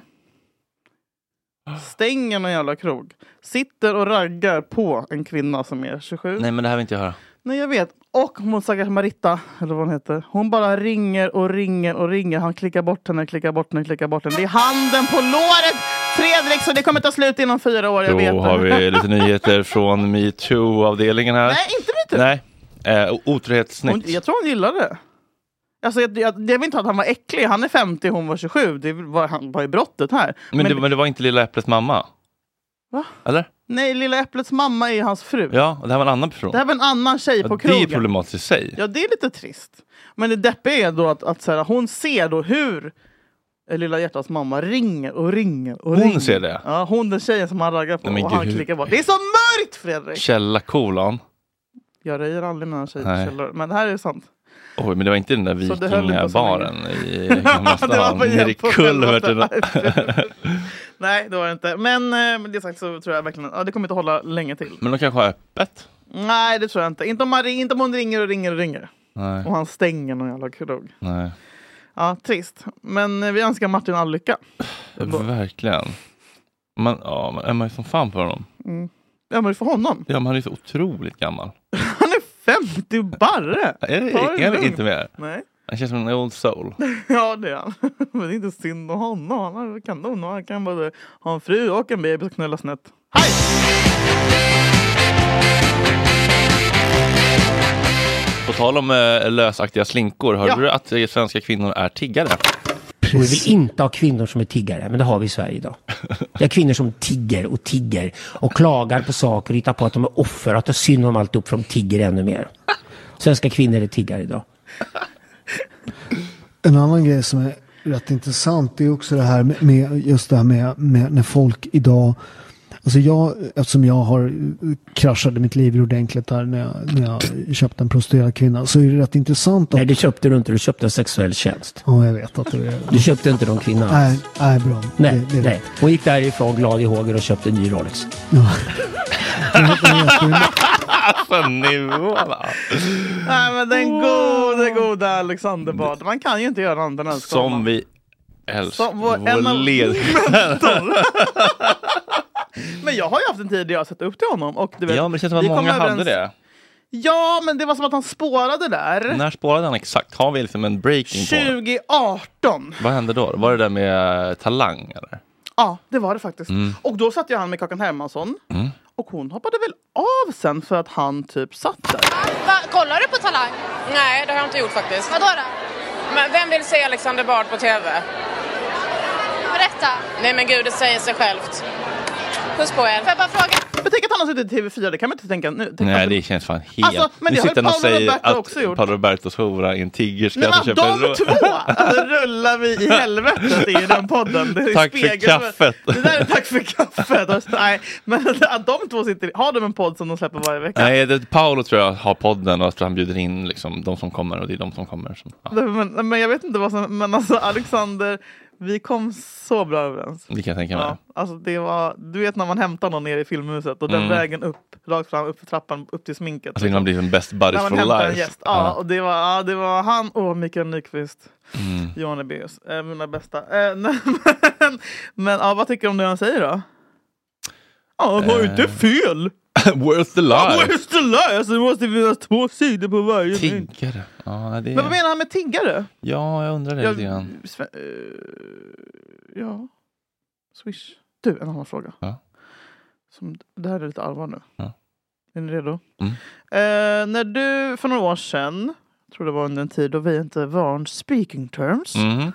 [SPEAKER 2] Stänger någon jävla krog. Sitter och raggar på en kvinna som är 27.
[SPEAKER 1] Nej, men det här vill inte jag höra.
[SPEAKER 2] Nej jag vet. Och hon stackars Maritta, eller vad hon heter. Hon bara ringer och ringer och ringer. Han klickar bort henne, klickar bort henne, klickar bort henne. Det är handen på låret! Fredrik, så det kommer ta slut inom fyra år, jag vet
[SPEAKER 1] Då
[SPEAKER 2] det.
[SPEAKER 1] har vi lite nyheter från metoo-avdelningen här.
[SPEAKER 2] Nej, inte metoo.
[SPEAKER 1] Nej. Eh, o-
[SPEAKER 2] Hon,
[SPEAKER 1] otrohetssnitt.
[SPEAKER 2] jag tror hon gillar det. Alltså, jag, jag, jag vill inte att han var äcklig. Han är 50, hon var 27. Det var, han, vad är brottet här?
[SPEAKER 1] Men, det, men det var inte Lilla Äpplets mamma?
[SPEAKER 2] Va?
[SPEAKER 1] Eller?
[SPEAKER 2] Nej, Lilla Äpplets mamma är hans fru.
[SPEAKER 1] Ja, och det här var en annan person.
[SPEAKER 2] Det här var en annan tjej på
[SPEAKER 1] ja, det
[SPEAKER 2] krogen.
[SPEAKER 1] är problematiskt i sig.
[SPEAKER 2] Ja, det är lite trist. Men det deppiga är då att, att så här, hon ser då hur Lilla Hjärtats mamma ringer och ringer och
[SPEAKER 1] Hon
[SPEAKER 2] ringer.
[SPEAKER 1] ser det?
[SPEAKER 2] Ja, hon den tjejen som han raggar på
[SPEAKER 1] Nej, men
[SPEAKER 2] och han
[SPEAKER 1] gud, hur-
[SPEAKER 2] klickar bort. Det är så mörkt Fredrik!
[SPEAKER 1] Källa kolon.
[SPEAKER 2] Jag röjer aldrig mina tjejer
[SPEAKER 1] Nej.
[SPEAKER 2] till källor, men det här är sant.
[SPEAKER 1] Oj, men det var inte den där
[SPEAKER 2] Så det höll inte så
[SPEAKER 1] vikingabaren i Gamla
[SPEAKER 2] det var
[SPEAKER 1] stan.
[SPEAKER 2] på
[SPEAKER 1] Nere i
[SPEAKER 2] hjälp på
[SPEAKER 1] kulverten.
[SPEAKER 2] självaste- Nej, det var det inte. Men eh, med det sagt så tror jag verkligen ja, det kommer inte hålla länge till.
[SPEAKER 1] Men de kanske har öppet?
[SPEAKER 2] Nej, det tror jag inte. Inte om, man, ring- inte om hon ringer och ringer och ringer.
[SPEAKER 1] Nej.
[SPEAKER 2] Och han stänger någon jävla krog.
[SPEAKER 1] Nej.
[SPEAKER 2] Ja, trist. Men eh, vi önskar Martin all lycka. Ändå.
[SPEAKER 1] Verkligen. Man, ja, man är man ju som fan på honom.
[SPEAKER 2] Mm. Ja, men för honom.
[SPEAKER 1] Ja, men han är så otroligt gammal.
[SPEAKER 2] 50 barre!
[SPEAKER 1] Är det,
[SPEAKER 2] Ta det
[SPEAKER 1] är det
[SPEAKER 2] lugnt.
[SPEAKER 1] inte mer?
[SPEAKER 2] Nej.
[SPEAKER 1] Han känns som en old soul.
[SPEAKER 2] Ja, det är han. Men det är inte synd om honom. Han har kanon. och Han kan både ha en fru och en bebis och knulla snett.
[SPEAKER 1] På tal om eh, lösaktiga slinkor, hörde du att eh, svenska kvinnor är tiggare?
[SPEAKER 11] Och vi vill inte ha kvinnor som är tiggare, men det har vi i Sverige idag. Det är kvinnor som tigger och tigger och klagar på saker och hittar på att de är offer och att det är synd om alltihop för de tigger ännu mer. Svenska kvinnor är tiggare idag.
[SPEAKER 13] En annan grej som är rätt intressant det är också det här med, med just det här med, med när folk idag Alltså jag, eftersom jag har eh, kraschade mitt liv ordentligt där när jag, när jag köpte en prostituerad kvinna så är det rätt intressant att...
[SPEAKER 11] Nej, det köpte du inte. Du köpte en sexuell tjänst.
[SPEAKER 13] Ja, jag vet att det är...
[SPEAKER 11] Du köpte inte de kvinnan
[SPEAKER 13] Nej, nej bra.
[SPEAKER 11] Nej,
[SPEAKER 13] det är
[SPEAKER 11] nej. Hon gick därifrån glad i hågen och köpte en ny Rolex.
[SPEAKER 1] Alltså nivån.
[SPEAKER 2] Nej men den gode, goda Alexander Bard. Man kan ju inte göra annat än att älska
[SPEAKER 1] Som
[SPEAKER 2] honom.
[SPEAKER 1] vi älskar.
[SPEAKER 2] Som vår- en
[SPEAKER 1] Vår
[SPEAKER 2] av-
[SPEAKER 1] ledstjärna.
[SPEAKER 2] Men jag har ju haft en tid där jag har sett upp till honom. Och du vet,
[SPEAKER 1] Ja, men det känns som att
[SPEAKER 2] vi kom
[SPEAKER 1] många hade
[SPEAKER 2] överens-
[SPEAKER 1] det.
[SPEAKER 2] Ja, men det var som att han spårade där.
[SPEAKER 1] När spårade han exakt? Har vi liksom en breaking point?
[SPEAKER 2] 2018.
[SPEAKER 1] Vad hände då? Var det där med eh, talang eller?
[SPEAKER 2] Ja, det var det faktiskt.
[SPEAKER 1] Mm.
[SPEAKER 2] Och då satt jag han med Kakan Hermansson.
[SPEAKER 1] Mm.
[SPEAKER 2] Och hon hoppade väl av sen för att han typ satt där.
[SPEAKER 14] Va, kollar du på Talang? Nej, det har jag inte gjort faktiskt. Vadå då? Men vem vill se Alexander Bard på TV? Berätta. Nej men gud, det säger sig självt. Puss på er. Får jag bara fråga?
[SPEAKER 2] Men tänk att han har suttit i TV4, det kan man inte tänka nu. Tänk
[SPEAKER 1] Nej, det känns fan helt...
[SPEAKER 2] Alltså, men
[SPEAKER 1] nu
[SPEAKER 2] det har
[SPEAKER 1] sitter
[SPEAKER 2] ju
[SPEAKER 1] han och säger
[SPEAKER 2] Paolo Roberto
[SPEAKER 1] att
[SPEAKER 2] också gjort.
[SPEAKER 1] Paolo Robertos hora är en
[SPEAKER 2] Nej,
[SPEAKER 1] tigerska
[SPEAKER 2] men
[SPEAKER 1] som köper en
[SPEAKER 2] de
[SPEAKER 1] ro-
[SPEAKER 2] två! Alltså, rullar vi i helvetet i den podden. Det är
[SPEAKER 1] Tack för
[SPEAKER 2] spegeln-
[SPEAKER 1] kaffet.
[SPEAKER 2] Det där är tack för kaffet. Alltså, nej, men att de två sitter... Har de en podd som de släpper varje vecka?
[SPEAKER 1] Nej, det, Paolo tror jag har podden och att han bjuder in liksom, de som kommer och det är de som kommer. Som, ja,
[SPEAKER 2] Men, men jag vet inte vad som... Men alltså Alexander, vi kom så bra överens.
[SPEAKER 1] det kan jag tänka mig.
[SPEAKER 2] Ja, alltså det var, du vet när man hämtar någon nere i filmhuset och den
[SPEAKER 1] Mm.
[SPEAKER 2] vägen upp, rakt fram, upp för trappan, upp till sminket.
[SPEAKER 1] Alltså innan man blir en best buddies
[SPEAKER 2] När
[SPEAKER 1] for
[SPEAKER 2] man hämtar en
[SPEAKER 1] life.
[SPEAKER 2] gäst. Ja, Och det, var, ja, det var han och Mikael Nyqvist.
[SPEAKER 1] Mm.
[SPEAKER 2] Johan Ebeus, eh, mina bästa. Eh, nej, men men ja, vad tycker du om det han säger då? Ja, han har ju inte
[SPEAKER 1] Eh.
[SPEAKER 2] fel!
[SPEAKER 1] Worth the
[SPEAKER 2] Ja,
[SPEAKER 1] life.
[SPEAKER 2] Where's the lie? Alltså, det måste finnas två sidor på varje mynt.
[SPEAKER 1] Tiggare. Ja, det...
[SPEAKER 2] Men vad menar han med tiggare?
[SPEAKER 1] ja, jag undrar det
[SPEAKER 2] Jag-
[SPEAKER 1] lite grann.
[SPEAKER 2] Sve- eh, ja. Swish. Du, en annan fråga.
[SPEAKER 1] Ja.
[SPEAKER 2] Som, det här är lite allvar nu.
[SPEAKER 1] Ja.
[SPEAKER 2] Är ni redo?
[SPEAKER 1] Mm.
[SPEAKER 2] Eh, när du för några år sedan, jag tror det var under en tid då vi inte var on speaking terms.
[SPEAKER 1] Mhm.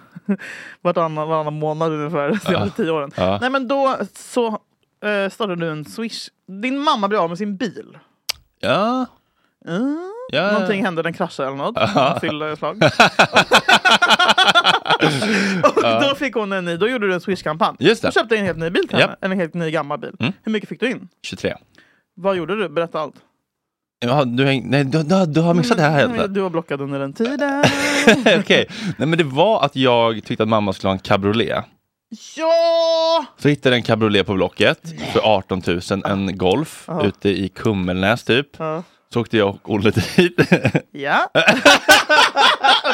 [SPEAKER 2] Varannan, varannan månad ungefär, så jag var tio åren.
[SPEAKER 1] Ja.
[SPEAKER 2] Nej men då så eh, startade du en swish. Din mamma blev av med sin bil.
[SPEAKER 1] Ja.
[SPEAKER 2] Mm.
[SPEAKER 1] Ja.
[SPEAKER 2] Någonting hände, den kraschade eller något.
[SPEAKER 1] Ja.
[SPEAKER 2] Fyllde slag. och då fick hon en ny, då gjorde du en swish-kampanj.
[SPEAKER 1] Just det.
[SPEAKER 2] Då köpte jag en helt ny bil till
[SPEAKER 1] Japp.
[SPEAKER 2] henne, en helt ny gammal bil.
[SPEAKER 1] Mm.
[SPEAKER 2] Hur mycket fick du in?
[SPEAKER 1] 23.
[SPEAKER 2] Vad gjorde du? Berätta allt.
[SPEAKER 1] Ja, du, häng... Nej, du, du, du har missat det här helt
[SPEAKER 2] Mm, Nej, Du var blockad under den tiden.
[SPEAKER 1] Okej. Nej, men det var att jag tyckte att mamma skulle ha en cabriolet.
[SPEAKER 2] ja!
[SPEAKER 1] Så hittade jag en cabriolet på Blocket för 18 000, en Golf
[SPEAKER 2] Ja.
[SPEAKER 1] ute i Kummelnäs typ.
[SPEAKER 2] Ja.
[SPEAKER 1] Så åkte jag och Olle dit.
[SPEAKER 2] Ja.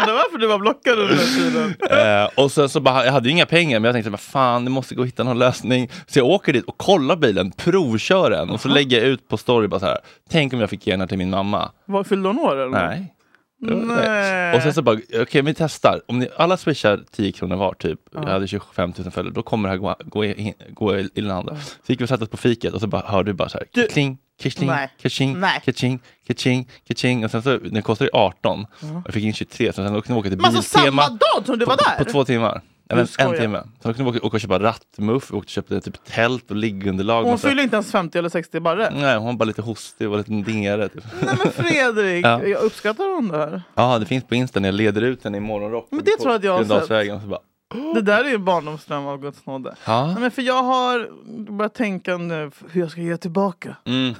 [SPEAKER 2] Undrar varför du var blockad under den tiden.
[SPEAKER 1] Eh, och sen så bara, jag hade ju inga pengar men jag tänkte vad fan, det måste gå och hitta någon lösning. Så jag åker dit och kollar bilen, provkör den och så lägger jag ut på story bara så här. Tänk om jag fick ge den här till min mamma.
[SPEAKER 2] Var, fyllde hon år eller?
[SPEAKER 1] Nej. Det var det.
[SPEAKER 2] Nej.
[SPEAKER 1] Och sen så bara, okej vi testar. Om ni alla swishar 10 kronor var typ,
[SPEAKER 2] Ja.
[SPEAKER 1] jag hade 25 000 följare, då kommer det här gå, gå, i- gå i i land. Så gick vi och satte oss på fiket och så bara hörde du bara så här, kling, kaching,
[SPEAKER 2] Nej.
[SPEAKER 1] kaching,
[SPEAKER 2] Nej.
[SPEAKER 1] kaching, kaching, kaching. Och sen så, den kostade ju 18,
[SPEAKER 2] Ja.
[SPEAKER 1] jag fick in 23, så sen åkte jag åka till
[SPEAKER 2] Men alltså samma
[SPEAKER 1] Biltema
[SPEAKER 2] dag som du var
[SPEAKER 1] på
[SPEAKER 2] där?
[SPEAKER 1] två timmar. Eller
[SPEAKER 2] Du
[SPEAKER 1] en
[SPEAKER 2] skojar.
[SPEAKER 1] timme. Sen åkte vi åka- åka och köpa rattmuff, vi åkte och köpte typ tält och liggunderlag.
[SPEAKER 2] Hon
[SPEAKER 1] massa-
[SPEAKER 2] fyllde inte ens 50 eller 60 barre.
[SPEAKER 1] Nej, hon var bara lite hostig och lite nere. Typ.
[SPEAKER 2] Nej men Fredrik,
[SPEAKER 1] Ja.
[SPEAKER 2] jag uppskattar hon det här.
[SPEAKER 1] Ja, det finns på Insta när jag leder ut den i morgonrock.
[SPEAKER 2] Men det
[SPEAKER 1] på
[SPEAKER 2] tror jag att jag har
[SPEAKER 1] Gröndalsvägen. Så bara,
[SPEAKER 2] Det där är ju barndomsdröm av Guds nåde.
[SPEAKER 1] Ja.
[SPEAKER 2] Nej, men för jag har börjat tänka nu hur jag ska ge tillbaka.
[SPEAKER 1] Mm.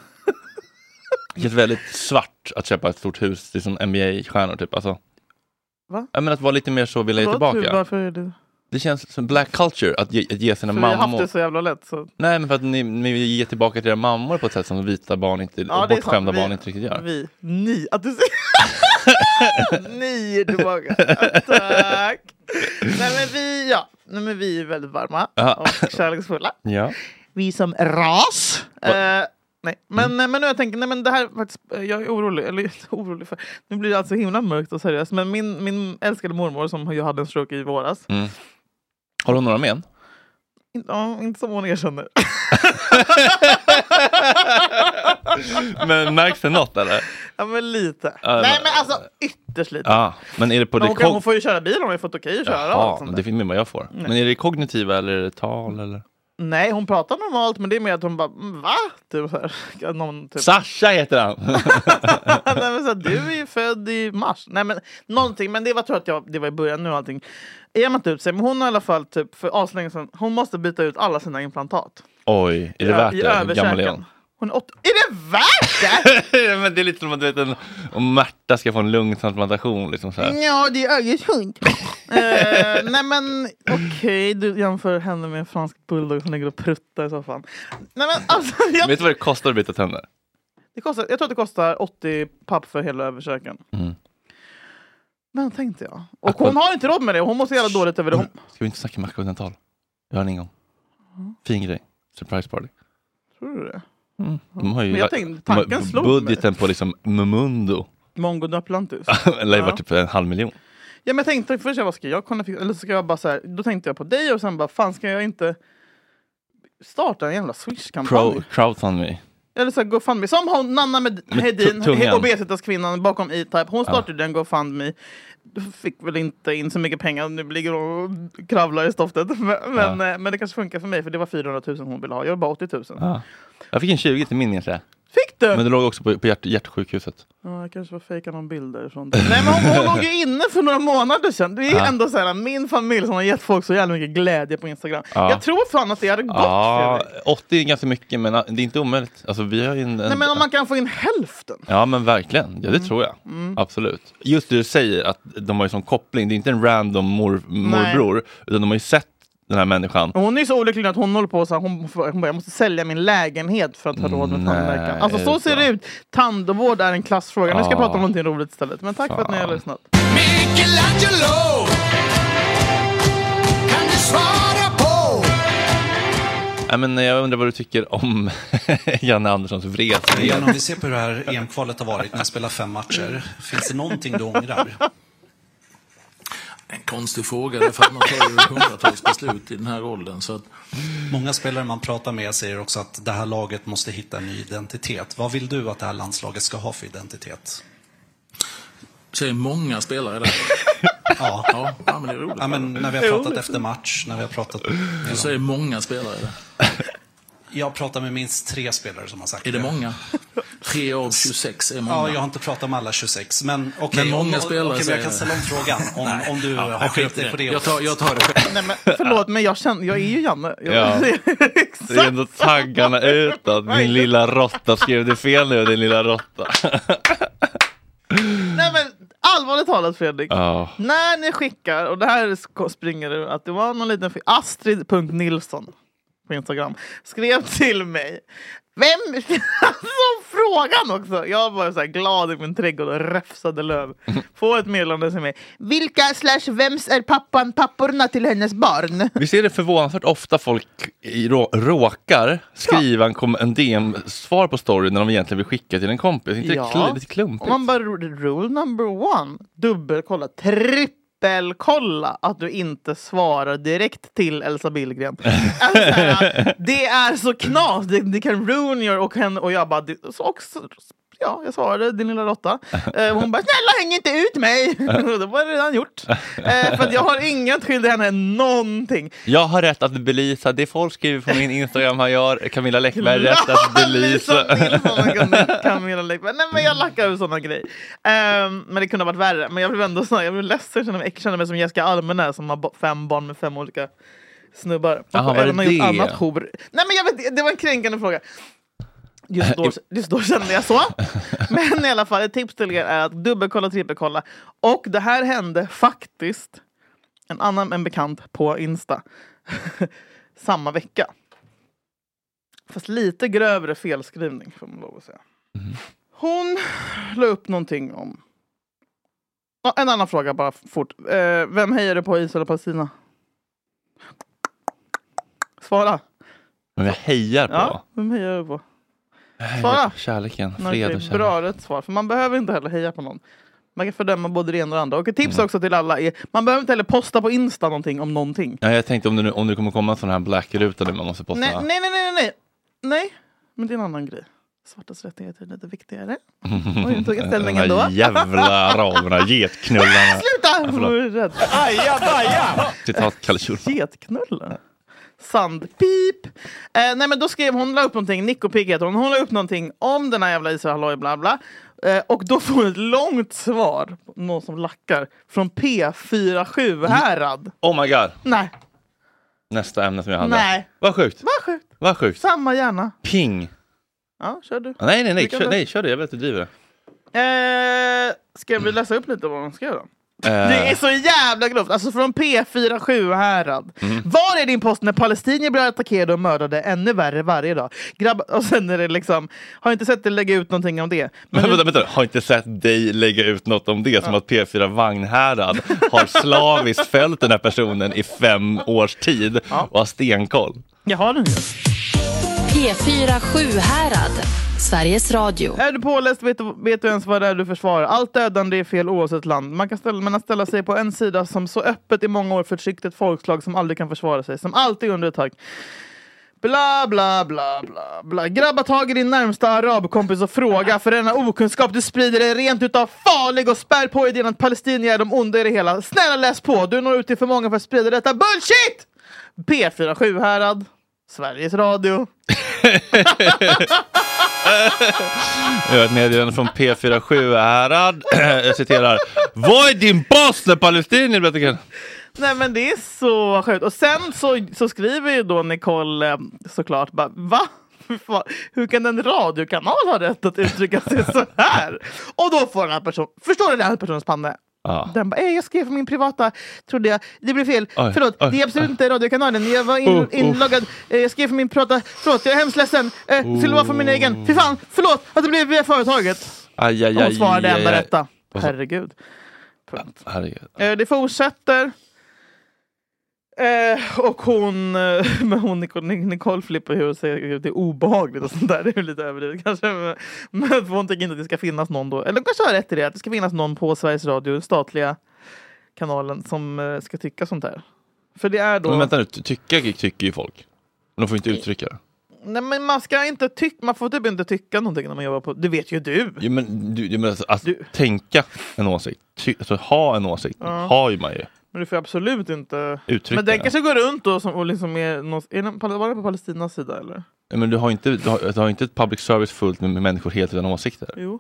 [SPEAKER 1] Det känns väldigt svart att köpa ett stort hus till som NBA-stjärnor typ. Alltså,
[SPEAKER 2] Va?
[SPEAKER 1] ja, men att vara lite mer så vilja ge
[SPEAKER 2] Vadå, Hur,
[SPEAKER 1] tillbaka.
[SPEAKER 2] varför är det?
[SPEAKER 1] Det känns som black culture att ge, att ge sina
[SPEAKER 2] För vi har haft
[SPEAKER 1] mammor.
[SPEAKER 2] det så jävla lätt. Så.
[SPEAKER 1] Nej men för att ni, ni vill ge tillbaka till era mammor på ett sätt som vita barn inte,
[SPEAKER 2] Ja,
[SPEAKER 1] och
[SPEAKER 2] det är sant.
[SPEAKER 1] bortskämda
[SPEAKER 2] Vi-
[SPEAKER 1] barn inte riktigt gör.
[SPEAKER 2] Vi, ni, att du säger... ni är tillbaka. Ja, Tack! Nej men vi, ja. Nej, men vi är väldigt varma
[SPEAKER 1] Ja.
[SPEAKER 2] och kärleksfulla.
[SPEAKER 1] Ja.
[SPEAKER 2] Vi som ras. Eh, nej. Men,
[SPEAKER 1] Mm.
[SPEAKER 2] eh, men nu jag tänker, nej men det här är faktiskt, eh, jag är orolig, eller jag är orolig för, nu blir det alltså himla mörkt och seriöst, men min, min älskade mormor som jag hade en stroke i våras,
[SPEAKER 1] Mm. Har du några men?
[SPEAKER 2] in, ja, inte som hon erkänner.
[SPEAKER 1] Men märks det något eller?
[SPEAKER 2] ja men lite.
[SPEAKER 1] Ja,
[SPEAKER 2] nej
[SPEAKER 1] men-
[SPEAKER 2] men alltså ytterst lite.
[SPEAKER 1] Ja, men är det på
[SPEAKER 2] Men
[SPEAKER 1] det
[SPEAKER 2] hon, kan,
[SPEAKER 1] kog...
[SPEAKER 2] hon får ju köra liksom. bil, hon har ju fått okej att köra. och allt
[SPEAKER 1] Jaha,
[SPEAKER 2] sånt där.
[SPEAKER 1] det är mer vad jag får.
[SPEAKER 2] Nej.
[SPEAKER 1] Men är det kognitiva eller är det tal eller?
[SPEAKER 2] Nej, hon pratar normalt, men det är mer att hon bara "Mm, va? Typ, så här. Någon, typ.
[SPEAKER 1] Sasha heter han!
[SPEAKER 2] Nej, men så här, du är ju född i mars. Nej, men, någonting, men det var, tror jag att jag, det var i början nu och allting. Jämnat ut sig, men hon har i alla fall typ, för aslänge sedan, hon måste byta ut alla sina implantat.
[SPEAKER 1] Oj, är det
[SPEAKER 2] I-
[SPEAKER 1] värt
[SPEAKER 2] i
[SPEAKER 1] det?
[SPEAKER 2] överkäken.
[SPEAKER 1] Gammal Leon.
[SPEAKER 2] Hon är åtta... Är det värt det?
[SPEAKER 1] Men det är lite som att du vet, en, om Märta ska få en lungtransplantation. Liksom så här.
[SPEAKER 2] Ja, det är ögonsjukt. Eh, nej men okej, du jämför henne med en fransk bulldog som ligger och pruttar i soffan. Nej, men, alltså, jag,
[SPEAKER 1] Vet du vad det kostar att byta tänder?
[SPEAKER 2] det kostar, jag tror att det kostar 80 papp för hela översäken.
[SPEAKER 1] Mm.
[SPEAKER 2] Men tänkte jag. Och hon har inte råd med det, hon måste göra dåligt över det. Hon,
[SPEAKER 1] Ska vi inte snacka makrodental? Vi har en ingång.
[SPEAKER 2] Mm.
[SPEAKER 1] Fin grej. Surprise party.
[SPEAKER 2] tror du det?
[SPEAKER 1] De har ju
[SPEAKER 2] Men jag tänkte,
[SPEAKER 1] de har
[SPEAKER 2] tanken slog
[SPEAKER 1] budgeten
[SPEAKER 2] mig.
[SPEAKER 1] på liksom Mumundo.
[SPEAKER 2] Mongo Duplantis.
[SPEAKER 1] Eller
[SPEAKER 2] Ja.
[SPEAKER 1] var typ en halv miljon.
[SPEAKER 2] Ja, men jag tänkte först, vad ska jag kunna fixa? Eller så ska jag bara så här, då tänkte jag på dig och sen bara, fan ska jag inte starta en jävla
[SPEAKER 1] Pro,
[SPEAKER 2] Swish-kampanj?
[SPEAKER 1] crowdfundme.
[SPEAKER 2] Eller så här, GoFundMe. Som hon, Nanna med
[SPEAKER 1] Med
[SPEAKER 2] Hedin,
[SPEAKER 1] tu- tungan.
[SPEAKER 2] he- obesitas-kvinnan bakom E E-Type. Hon
[SPEAKER 1] Ja.
[SPEAKER 2] startade en GoFundMe. Du fick väl inte in så mycket pengar. Nu ligger hon och kravlar i stoftet. Men, men, eh, men det kanske funkar för mig, för det var 400 000 hon ville ha. Jag har bara 80 000.
[SPEAKER 1] Ja. Jag fick en 20 till min egentligen.
[SPEAKER 2] Fick du?
[SPEAKER 1] Men det låg också på, på hjärt, hjärtsjukhuset.
[SPEAKER 2] Ja, jag kanske var fejka någon bild därifrån. Nej, men hon, hon låg ju inne för några månader sedan. Det är
[SPEAKER 1] Ja.
[SPEAKER 2] ändå så här, min familj som har gett folk så jävla mycket glädje på Instagram.
[SPEAKER 1] Ja.
[SPEAKER 2] Jag tror fan att det hade gått.
[SPEAKER 1] Ja, 80 är ganska mycket men ah, det är inte omöjligt. Alltså, vi har ju en, en,
[SPEAKER 2] Nej, men om man kan få in hälften.
[SPEAKER 1] Ja men verkligen, ja, det tror jag.
[SPEAKER 2] Mm.
[SPEAKER 1] Absolut. Just det du säger, att de har ju sån koppling. Det är inte en random mor, morbror, utan de har ju sett den här människan.
[SPEAKER 2] Och Hon är så olycklig nu att hon håller på så här, hon, hon bara, jag måste sälja min lägenhet för att ha råd med
[SPEAKER 1] Mm, Nej,
[SPEAKER 2] tandläkaren. Alltså
[SPEAKER 1] är
[SPEAKER 2] så
[SPEAKER 1] det
[SPEAKER 2] ser det ut. Tandvård är en klassfråga. Nu ska jag
[SPEAKER 1] Ja.
[SPEAKER 2] prata om någonting roligt istället. Men tack för att ni har lyssnat.
[SPEAKER 5] Michelangelo Kan du svara på
[SPEAKER 1] Nej, men eh, jag undrar vad du tycker om Janne Anderssons vresning.
[SPEAKER 15] Igen, om vi ser på hur det här EM-kvalet har varit när jag spelar fem matcher. Finns det någonting du ångrar?
[SPEAKER 16] En konstig fråga, därför att man tar ju hundratals beslut i den här åldern. Så att,
[SPEAKER 15] Många spelare man pratar med säger också att det här laget måste hitta en ny identitet. Vad vill du att det här landslaget ska ha för identitet?
[SPEAKER 16] säger många spelare där.
[SPEAKER 15] Ja.
[SPEAKER 16] Ja, ja, men det är roligt.
[SPEAKER 15] Ja, men när vi har pratat efter match, när vi har pratat...
[SPEAKER 16] Du säger många spelare där.
[SPEAKER 15] Jag pratar med minst tre spelare som har sagt
[SPEAKER 16] Är det många? Tre av 26 är många.
[SPEAKER 15] Ja, jag har inte pratat med alla 26, men okej.
[SPEAKER 16] Men många
[SPEAKER 15] om- om-
[SPEAKER 16] spelare
[SPEAKER 15] okej, men jag kan
[SPEAKER 16] säger-
[SPEAKER 15] ställa om frågan om,
[SPEAKER 16] Nej.
[SPEAKER 15] om du
[SPEAKER 16] Ja, jag
[SPEAKER 15] har skilt
[SPEAKER 16] skiter i
[SPEAKER 15] dig på
[SPEAKER 16] det.
[SPEAKER 15] det.
[SPEAKER 16] Jag tar- jag tar det själv.
[SPEAKER 2] Nej, men, förlåt, men jag, känner, jag är ju Janne. Jag,
[SPEAKER 1] Ja. Det är ändå taggarna utåt. Din lilla råtta, skrev du fel nu din lilla råtta?
[SPEAKER 2] Nej, men, allvarligt talat Fredrik.
[SPEAKER 1] Ja.
[SPEAKER 2] När ni skickar, och det här sk- springer ur att det var någon liten fi- Astrid.Nilsson på Instagram skrev till mig. Vem? Alltså frågan också! Jag var så här glad i min trädgård och räfsade löv. Får ett meddelande som är Vilka slash vems är pappan papporna till hennes barn?
[SPEAKER 1] Vi ser det förvånansvärt ofta folk i- rå- råkar skriva en, kom- en DM-svar på story när de egentligen vill skicka till en kompis. Inte det kl- lite
[SPEAKER 2] Och
[SPEAKER 1] klumpigt?
[SPEAKER 2] man bara, rule number one, dubbelkolla, trippelkolla att du inte svarar direkt till Elsa Billgren. alltså, så här, det är så knas, det, det kan ruin your... Och, henne, och jag bara, det, så också, ja, jag svarade din lilla råtta. Eh, och hon bara, snälla häng inte ut mig! Och Då var det redan gjort. Eh, för att jag har inget skyldig henne någonting.
[SPEAKER 1] Jag har rätt att belisa det folk skriver på min Instagram har jag, Camilla Läckberg, rätt att belisa.
[SPEAKER 2] Camilla Läckberg. Nej men jag lackar över sådana grejer. Ehm, men det kunde ha varit värre. Men jag blev ändå sån, jag blev ledsen. Jag kände mig, jag kände mig som Jessica Almenäs som har bo- fem barn med fem olika snubbar.
[SPEAKER 1] Jaha, var
[SPEAKER 2] Och
[SPEAKER 1] det
[SPEAKER 2] även har
[SPEAKER 1] det?
[SPEAKER 2] gjort annat hor. Nej men jag vet, det var en kränkande fråga. Just då, just då kände jag så. Men i alla fall, ett tips till er är att dubbelkolla och trippelkolla. Och det här hände faktiskt en annan en bekant på Insta samma vecka. Fast lite grövre felskrivning får man lov att säga.
[SPEAKER 1] Mm.
[SPEAKER 2] Hon la upp någonting om... Ja, en annan fråga bara fort. Eh, vem hejar du på, Israel eller Palestina? Svara.
[SPEAKER 1] Men jag hejar på.
[SPEAKER 2] Ja, vem hejar du på?
[SPEAKER 1] Jag hejar
[SPEAKER 2] Svara.
[SPEAKER 1] på Kärleken,
[SPEAKER 2] Nej,
[SPEAKER 1] fred
[SPEAKER 2] okej,
[SPEAKER 1] och kärlek.
[SPEAKER 2] Bra rätt svar, för man behöver inte heller heja på någon. Man kan fördöma både det ena och det andra. Och ett tips
[SPEAKER 1] Mm.
[SPEAKER 2] också till alla är, man behöver inte heller posta på Insta någonting om någonting.
[SPEAKER 1] Ja, jag tänkte om det, nu, om det kommer komma en sån här blackruta där man måste posta.
[SPEAKER 2] Nej, nej, nej, nej, nej. Nej, men det är en annan grej. Svartas rättigheter är lite viktigare. Oj, nu tog jag
[SPEAKER 1] De
[SPEAKER 2] ställning
[SPEAKER 1] här
[SPEAKER 2] ändå.
[SPEAKER 1] jävla araberna, getknullarna.
[SPEAKER 2] Sluta!
[SPEAKER 1] Ja,
[SPEAKER 2] Jag
[SPEAKER 1] förlåt.
[SPEAKER 2] är rädd. Aja, baja!
[SPEAKER 1] Citat Kalle Schulman.
[SPEAKER 2] Getknullar? Sandpip. Eh, nej men då skrev hon, la upp någonting, Nico Pigg heter hon, hon la upp någonting om den här jävla Israel Halloj bla bla. Eh, och då får hon ett långt svar, någon som lackar, från P47 Härad.
[SPEAKER 1] Oh my god.
[SPEAKER 2] Nej,
[SPEAKER 1] Nästa ämne som jag hade.
[SPEAKER 2] Nej.
[SPEAKER 1] Vad sjukt.
[SPEAKER 2] vad sjukt.
[SPEAKER 1] Vad sjukt.
[SPEAKER 2] Samma hjärna.
[SPEAKER 1] Ping.
[SPEAKER 2] Ja, kör du.
[SPEAKER 1] Nej, nej,
[SPEAKER 2] Du
[SPEAKER 1] nej.
[SPEAKER 2] kan
[SPEAKER 1] Kör,
[SPEAKER 2] ta-
[SPEAKER 1] nej, kör det. Jag vet att du driver.
[SPEAKER 2] Eh, ska vi läsa upp lite vad hon skrev då?
[SPEAKER 1] Eh.
[SPEAKER 2] Det är så jävla grovt! Alltså från P47 Härad. Var är din post när palestinier blir attackerade och mördade ännu värre varje dag? Grabb och sen är det liksom, har inte sett dig lägga ut någonting om det.
[SPEAKER 1] Men vänta, vänta, har inte sett dig lägga ut något om det som att P4 Vagnhärad har slaviskt följt den här personen i fem års tid och har stenkoll.
[SPEAKER 2] Jag har den ju.
[SPEAKER 17] P4 Sjuhärad, Sveriges Radio.
[SPEAKER 2] Är du påläst vet du, vet du ens vad det är du försvarar. Allt dödande är fel oavsett land. Man kan ställa, men att ställa sig på en sida som så öppet i många år förtryckt ett folkslag som aldrig kan försvara sig, som alltid är under attack. Bla, bla, bla, bla, bla. Grabba tag i din närmsta arabkompis och fråga, för denna okunskap du sprider är rent utav farlig och spär på idén att palestinier är de onda i det hela. Snälla läs på, du når ut till för många för att sprida detta bullshit! P47 Härad, Sveriges Radio.
[SPEAKER 1] Jag har ett meddelande från P47 Härad. Jag citerar. Vad är din boss när palestinier blir attackerade?
[SPEAKER 2] Nej men det är så sjukt. Och sen så, så skriver ju då Nicole eh, såklart bara va? Hur fan- Hur kan en radiokanal ha rätt att uttrycka sig så här? Och då får den här personen, förstår du den här personens panne?
[SPEAKER 1] Ja.
[SPEAKER 2] Den bara, "Eh, jag skrev för min privata, trodde jag, det blev fel,
[SPEAKER 1] Oj,
[SPEAKER 2] förlåt,
[SPEAKER 1] oj,
[SPEAKER 2] det är absolut
[SPEAKER 1] oj.
[SPEAKER 2] inte radiokanalen, jag var in,
[SPEAKER 1] Oh, oh.
[SPEAKER 2] inloggad, Eh, jag skrev för min privata, förlåt, jag är hemskt ledsen, eh, skulle vara för min egen, fy fan, förlåt att det blev via företaget.
[SPEAKER 1] Aj, aj, aj,
[SPEAKER 2] Hon svarade
[SPEAKER 1] aj, aj,
[SPEAKER 2] ändå
[SPEAKER 1] aj.
[SPEAKER 2] detta.
[SPEAKER 1] Och så-
[SPEAKER 2] Herregud.
[SPEAKER 1] Herregud.
[SPEAKER 2] Eh, Det fortsätter. Eh, och hon, eh, men hon Nicole, Nicole flippar ju och säger att det är obehagligt och sånt där. Det är ju lite överdrivet kanske. Men, men för hon tänker inte att det ska finnas någon då. Eller hon kanske har rätt i det. Att det ska finnas någon på Sveriges Radio, den statliga kanalen, som eh, ska tycka sånt där. För det är då...
[SPEAKER 1] Men vänta nu, ty- tycka tycker ju folk. Men de får inte uttrycka det.
[SPEAKER 2] Nej men man ska inte tycka, man får typ inte tycka någonting när man jobbar på... Det vet ju du.
[SPEAKER 1] Jo, men, du, du, men alltså, att tänka en åsikt, ty, alltså, ha en åsikt,
[SPEAKER 2] Ja.
[SPEAKER 1] har ju man ju.
[SPEAKER 2] Men du får absolut inte...
[SPEAKER 1] Uttrycka
[SPEAKER 2] men den
[SPEAKER 1] det.
[SPEAKER 2] kanske går runt då som, och liksom är... Någon, är den, var det på Palestinas sida eller?
[SPEAKER 1] Ja, Men du har inte, du har, du har inte ett public service fullt med människor helt utan åsikter.
[SPEAKER 2] Jo.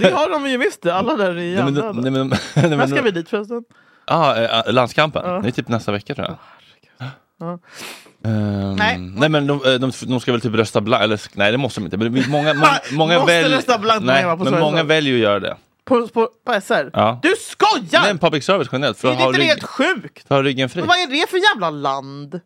[SPEAKER 2] Det har de ju visst det, alla där i
[SPEAKER 1] Nej, men,
[SPEAKER 2] andra.
[SPEAKER 1] nej, men, nej, men,
[SPEAKER 2] När ska vi dit förresten?
[SPEAKER 1] Ah, eh, eh, landskampen,
[SPEAKER 2] Ja.
[SPEAKER 1] det är typ nästa vecka tror jag.
[SPEAKER 2] Ja.
[SPEAKER 1] Ehm,
[SPEAKER 2] Nej.
[SPEAKER 1] nej men de, eh, de, de ska väl typ rösta blankt, eller sk- nej det måste de inte. Men det finns många, många, många
[SPEAKER 2] Måste
[SPEAKER 1] välj-
[SPEAKER 2] rösta blankt när
[SPEAKER 1] nej,
[SPEAKER 2] jag var på
[SPEAKER 1] men
[SPEAKER 2] Sveriges
[SPEAKER 1] många
[SPEAKER 2] Radio.
[SPEAKER 1] väljer att göra det.
[SPEAKER 2] På, på, på SR?
[SPEAKER 1] Ja.
[SPEAKER 2] Du skojar!
[SPEAKER 1] Nej, men public service generellt, för
[SPEAKER 2] är
[SPEAKER 1] att ha,
[SPEAKER 2] inte det
[SPEAKER 1] rygg,
[SPEAKER 2] helt sjukt?
[SPEAKER 1] för att ha ryggen fri.
[SPEAKER 2] Men vad är det för jävla land?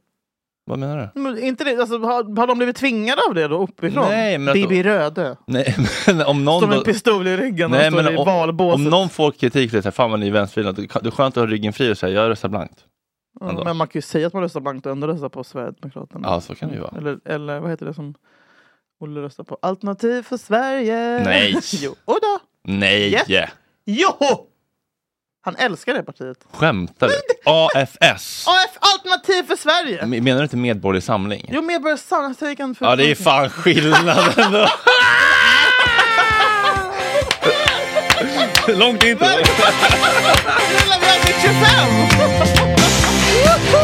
[SPEAKER 1] Vad menar du?
[SPEAKER 2] Men Inte det, alltså, har, har de blivit tvingade av det då uppifrån?
[SPEAKER 1] Nej, men att-
[SPEAKER 2] Bibi Röde.
[SPEAKER 1] Nej, men om någon
[SPEAKER 2] Står med
[SPEAKER 1] då-
[SPEAKER 2] en pistol i ryggen och
[SPEAKER 1] Nej,
[SPEAKER 2] står
[SPEAKER 1] men
[SPEAKER 2] i
[SPEAKER 1] om-
[SPEAKER 2] valbåset.
[SPEAKER 1] Om någon får kritik för det, så här, fan vad ni är vänstervridna, det är skönt att ha ryggen fri och säga jag röstar blankt.
[SPEAKER 2] Ja, Men man kan ju säga att man röstar blankt och ändå röstar på Sverigedemokraterna.
[SPEAKER 1] Ja, så kan det ju vara.
[SPEAKER 2] Eller, eller vad heter det som Olle röstar på? Alternativ för Sverige!
[SPEAKER 1] Nej.
[SPEAKER 2] jo, och då.
[SPEAKER 1] Nej!
[SPEAKER 2] Yes. Jo! Han älskar det partiet.
[SPEAKER 1] Skämtar du? AFS!
[SPEAKER 2] AF Alternativ för Sverige!
[SPEAKER 1] Men- Menar du inte Medborgerlig Samling?
[SPEAKER 2] Jo, Medborgarna jag kan för
[SPEAKER 1] Mm. Ja, det är fan skillnaden då. Långt in på
[SPEAKER 2] Rullar vi över 25!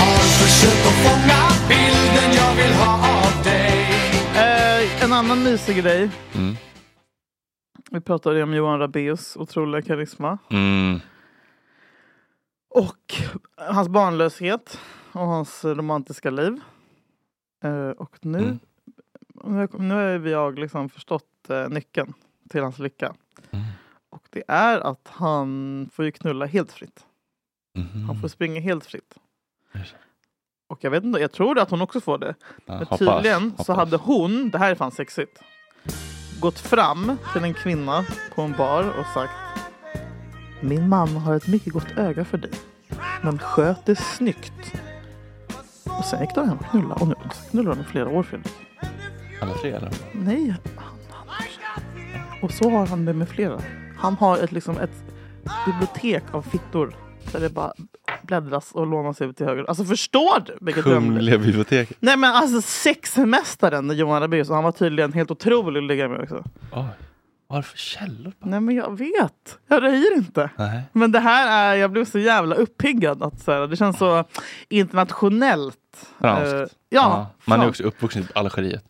[SPEAKER 5] Har försökt att fånga bilden jag vill ha av dig
[SPEAKER 2] Eh, en annan mysig grej.
[SPEAKER 1] Mm.
[SPEAKER 2] Vi pratade ju om Johan Rabaeus otroliga karisma.
[SPEAKER 1] Mm.
[SPEAKER 2] Och hans barnlöshet och hans romantiska liv. Eh, och nu,
[SPEAKER 1] Mm.
[SPEAKER 2] nu, nu har vi jag liksom förstått eh, nyckeln till hans lycka. Och det är att han får ju knulla helt fritt.
[SPEAKER 1] Mm.
[SPEAKER 2] Han får springa helt fritt. Och jag vet inte, jag tror att hon också får det. Men
[SPEAKER 1] hoppas,
[SPEAKER 2] tydligen så
[SPEAKER 1] hoppas.
[SPEAKER 2] hade hon, det här är fan sexigt, gått fram till en kvinna på en bar och sagt Min man har ett mycket gott öga för dig. Men sköt det snyggt. Och sen gick de hem och knullade och nu knullar de i flera år Fredrik.
[SPEAKER 1] Alla tre eller?
[SPEAKER 2] Nej, han, han. Och så har han det med flera. Han har ett, liksom ett bibliotek av fittor. Där det bara bläddras och lånas ut till höger. Alltså förstår du vilket dröm?
[SPEAKER 1] Kungliga biblioteket.
[SPEAKER 2] Nej men alltså sexmästaren Johan Rabaeus. och Han var tydligen helt otrolig att ligga med också.
[SPEAKER 1] Oj. Varför källor?
[SPEAKER 2] Nej men jag vet. Jag röjer inte.
[SPEAKER 1] Nej.
[SPEAKER 2] Men det här är, jag blev så jävla uppiggad. Att, så här, det känns så internationellt.
[SPEAKER 1] Franskt.
[SPEAKER 2] Eh, ja,
[SPEAKER 1] Man är
[SPEAKER 2] franskt.
[SPEAKER 1] också uppvuxen i typ Algeriet.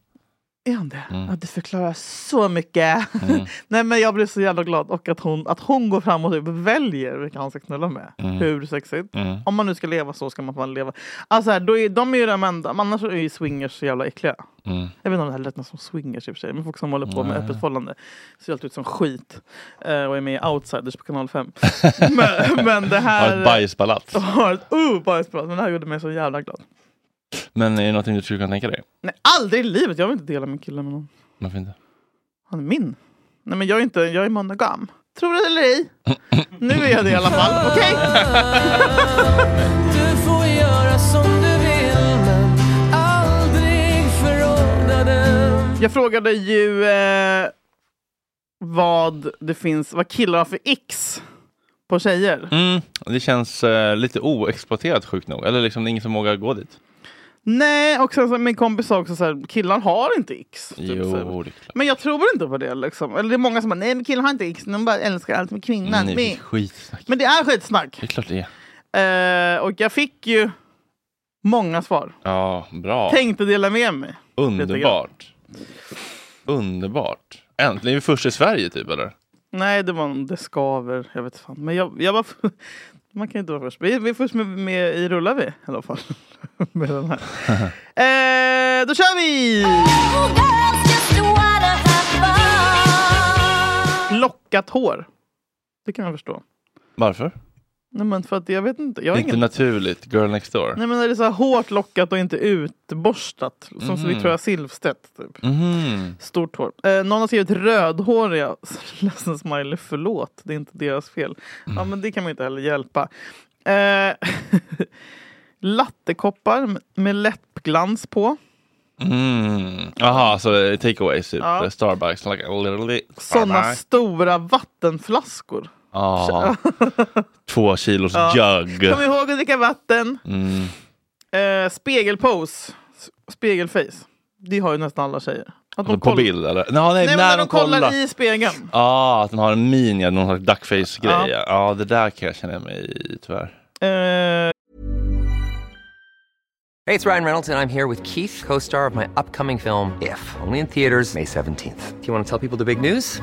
[SPEAKER 2] Är hon det?
[SPEAKER 1] Mm.
[SPEAKER 2] Ja, du förklarar så mycket.
[SPEAKER 1] Mm.
[SPEAKER 2] Nej men jag blev så jävla glad och att hon, att hon går fram och typ väljer vilka han ska knulla med.
[SPEAKER 1] Mm.
[SPEAKER 2] Hur sexigt?
[SPEAKER 1] Mm.
[SPEAKER 2] Om man nu ska leva så ska man fan leva. Alltså här, då är, de är ju de enda, men annars är ju swingers så jävla äckliga.
[SPEAKER 1] Mm.
[SPEAKER 2] Jag vet inte om det här lät något som swingers i och för sig, men folk som håller på med
[SPEAKER 1] Nej.
[SPEAKER 2] öppet förhållande ser alltid ut som skit. Eh, och är med i Outsiders på kanal 5. men, men det här...
[SPEAKER 1] Har ett bajsbalans.
[SPEAKER 2] Har ett uh, bajsbalans. Men det här gjorde mig så jävla glad.
[SPEAKER 1] Men är det någonting du skulle kunna tänka dig?
[SPEAKER 2] Nej, aldrig i livet! Jag vill inte dela min kille med någon.
[SPEAKER 1] Varför inte?
[SPEAKER 2] Han är min. Nej men jag är inte, jag är monogam. Tror du eller ej? Nu är jag det i alla fall, okej?
[SPEAKER 18] Du får göra som du vill men aldrig förråda den
[SPEAKER 2] Jag frågade ju eh, vad det finns, vad killar har för x på tjejer.
[SPEAKER 1] Mm, det känns eh, lite oexploaterat sjukt nog. Eller liksom det är ingen som vågar gå
[SPEAKER 2] Typ
[SPEAKER 1] dit.
[SPEAKER 2] Nej, och sen så min kompis sa också så här, killar har inte x. Typ så här.
[SPEAKER 1] Jo, det är klart.
[SPEAKER 2] Men jag tror inte på det liksom. Eller det är många som bara, nej men killar har inte x, de bara älskar allt med kvinnan.
[SPEAKER 1] Nej, det är
[SPEAKER 2] men,
[SPEAKER 1] skitsnack.
[SPEAKER 2] men det är skitsnack.
[SPEAKER 1] Det är klart det är.
[SPEAKER 2] Eh, och jag fick ju många svar.
[SPEAKER 1] Ja, bra.
[SPEAKER 2] Tänkte dela med mig. lite grann.
[SPEAKER 1] Underbart. Underbart. Äntligen är vi först i Sverige typ eller?
[SPEAKER 2] Nej, det var en- det skaver. Jag vet fan. Men jag, jag var... Man kan ju inte vara först. Vi, vi är först med, med i Rullar vi i alla fall. med den här. eh, då kör vi! Lockat hår. Det kan jag förstå.
[SPEAKER 1] Varför?
[SPEAKER 2] Nej, men för att jag vet inte. Jag har
[SPEAKER 1] inte
[SPEAKER 2] ingen...
[SPEAKER 1] naturligt. Girl next door.
[SPEAKER 2] Nej, men är det så här hårt lockat och inte utborstat? Som
[SPEAKER 1] Mhm.
[SPEAKER 2] Victoria Silvstedt. Typ.
[SPEAKER 1] Mhm.
[SPEAKER 2] Stort hår. Eh, någon har skrivit rödhåriga. Ledsen smiley, förlåt. Det är inte deras fel. Ja, men det kan man ju inte heller hjälpa. Eh, lattekoppar med läppglans på.
[SPEAKER 1] Mm. Jaha, så takeaways typ.
[SPEAKER 2] Ja.
[SPEAKER 1] Starbucks. Like, literally
[SPEAKER 2] Sådana
[SPEAKER 1] Starbucks.
[SPEAKER 2] stora vattenflaskor.
[SPEAKER 1] Ja. Två kilos
[SPEAKER 2] Ja.
[SPEAKER 1] jug.
[SPEAKER 2] Kom ihåg att dricka vatten.
[SPEAKER 1] Mm.
[SPEAKER 2] Eh, spegelpose. S- Spegelface. Det har ju nästan alla tjejer. Att de
[SPEAKER 1] Alltså, på
[SPEAKER 2] kollar-
[SPEAKER 1] bild eller? Nej, nej,
[SPEAKER 2] Nej, men
[SPEAKER 1] när
[SPEAKER 2] när
[SPEAKER 1] de
[SPEAKER 2] de kollar
[SPEAKER 1] kollar.
[SPEAKER 2] i spegeln.
[SPEAKER 1] Ja, att den har en mini, någon slags duckface-grej.
[SPEAKER 2] Ja.
[SPEAKER 1] Ja. det där kan jag känna mig i tyvärr.
[SPEAKER 2] Eh,
[SPEAKER 19] Hey, it's Ryan Reynolds, and I'm here with Keith, co star of my upcoming film, If, only in theaters, May 17th. Do you want to tell people the big news?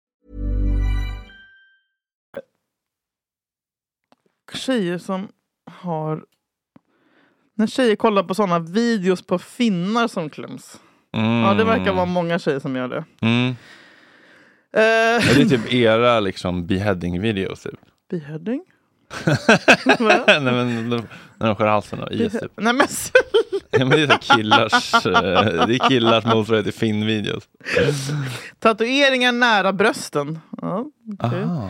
[SPEAKER 2] tjejer som har... När tjejer kollar på sådana videos på finnar som kläms.
[SPEAKER 1] Mm.
[SPEAKER 2] Ja, det verkar vara många tjejer som gör det.
[SPEAKER 1] Mm.
[SPEAKER 2] Eh,
[SPEAKER 1] Är det typ era liksom beheading-videos? Typ?
[SPEAKER 2] Beheading?
[SPEAKER 1] Nej, men, de- när de skär halsen och is typ.
[SPEAKER 2] Nej men
[SPEAKER 1] Ja, men det är så här killars, eh, det är killars motsvarighet till Finn-videos.
[SPEAKER 2] Tatueringar nära brösten. Ja, okej.
[SPEAKER 1] Aha.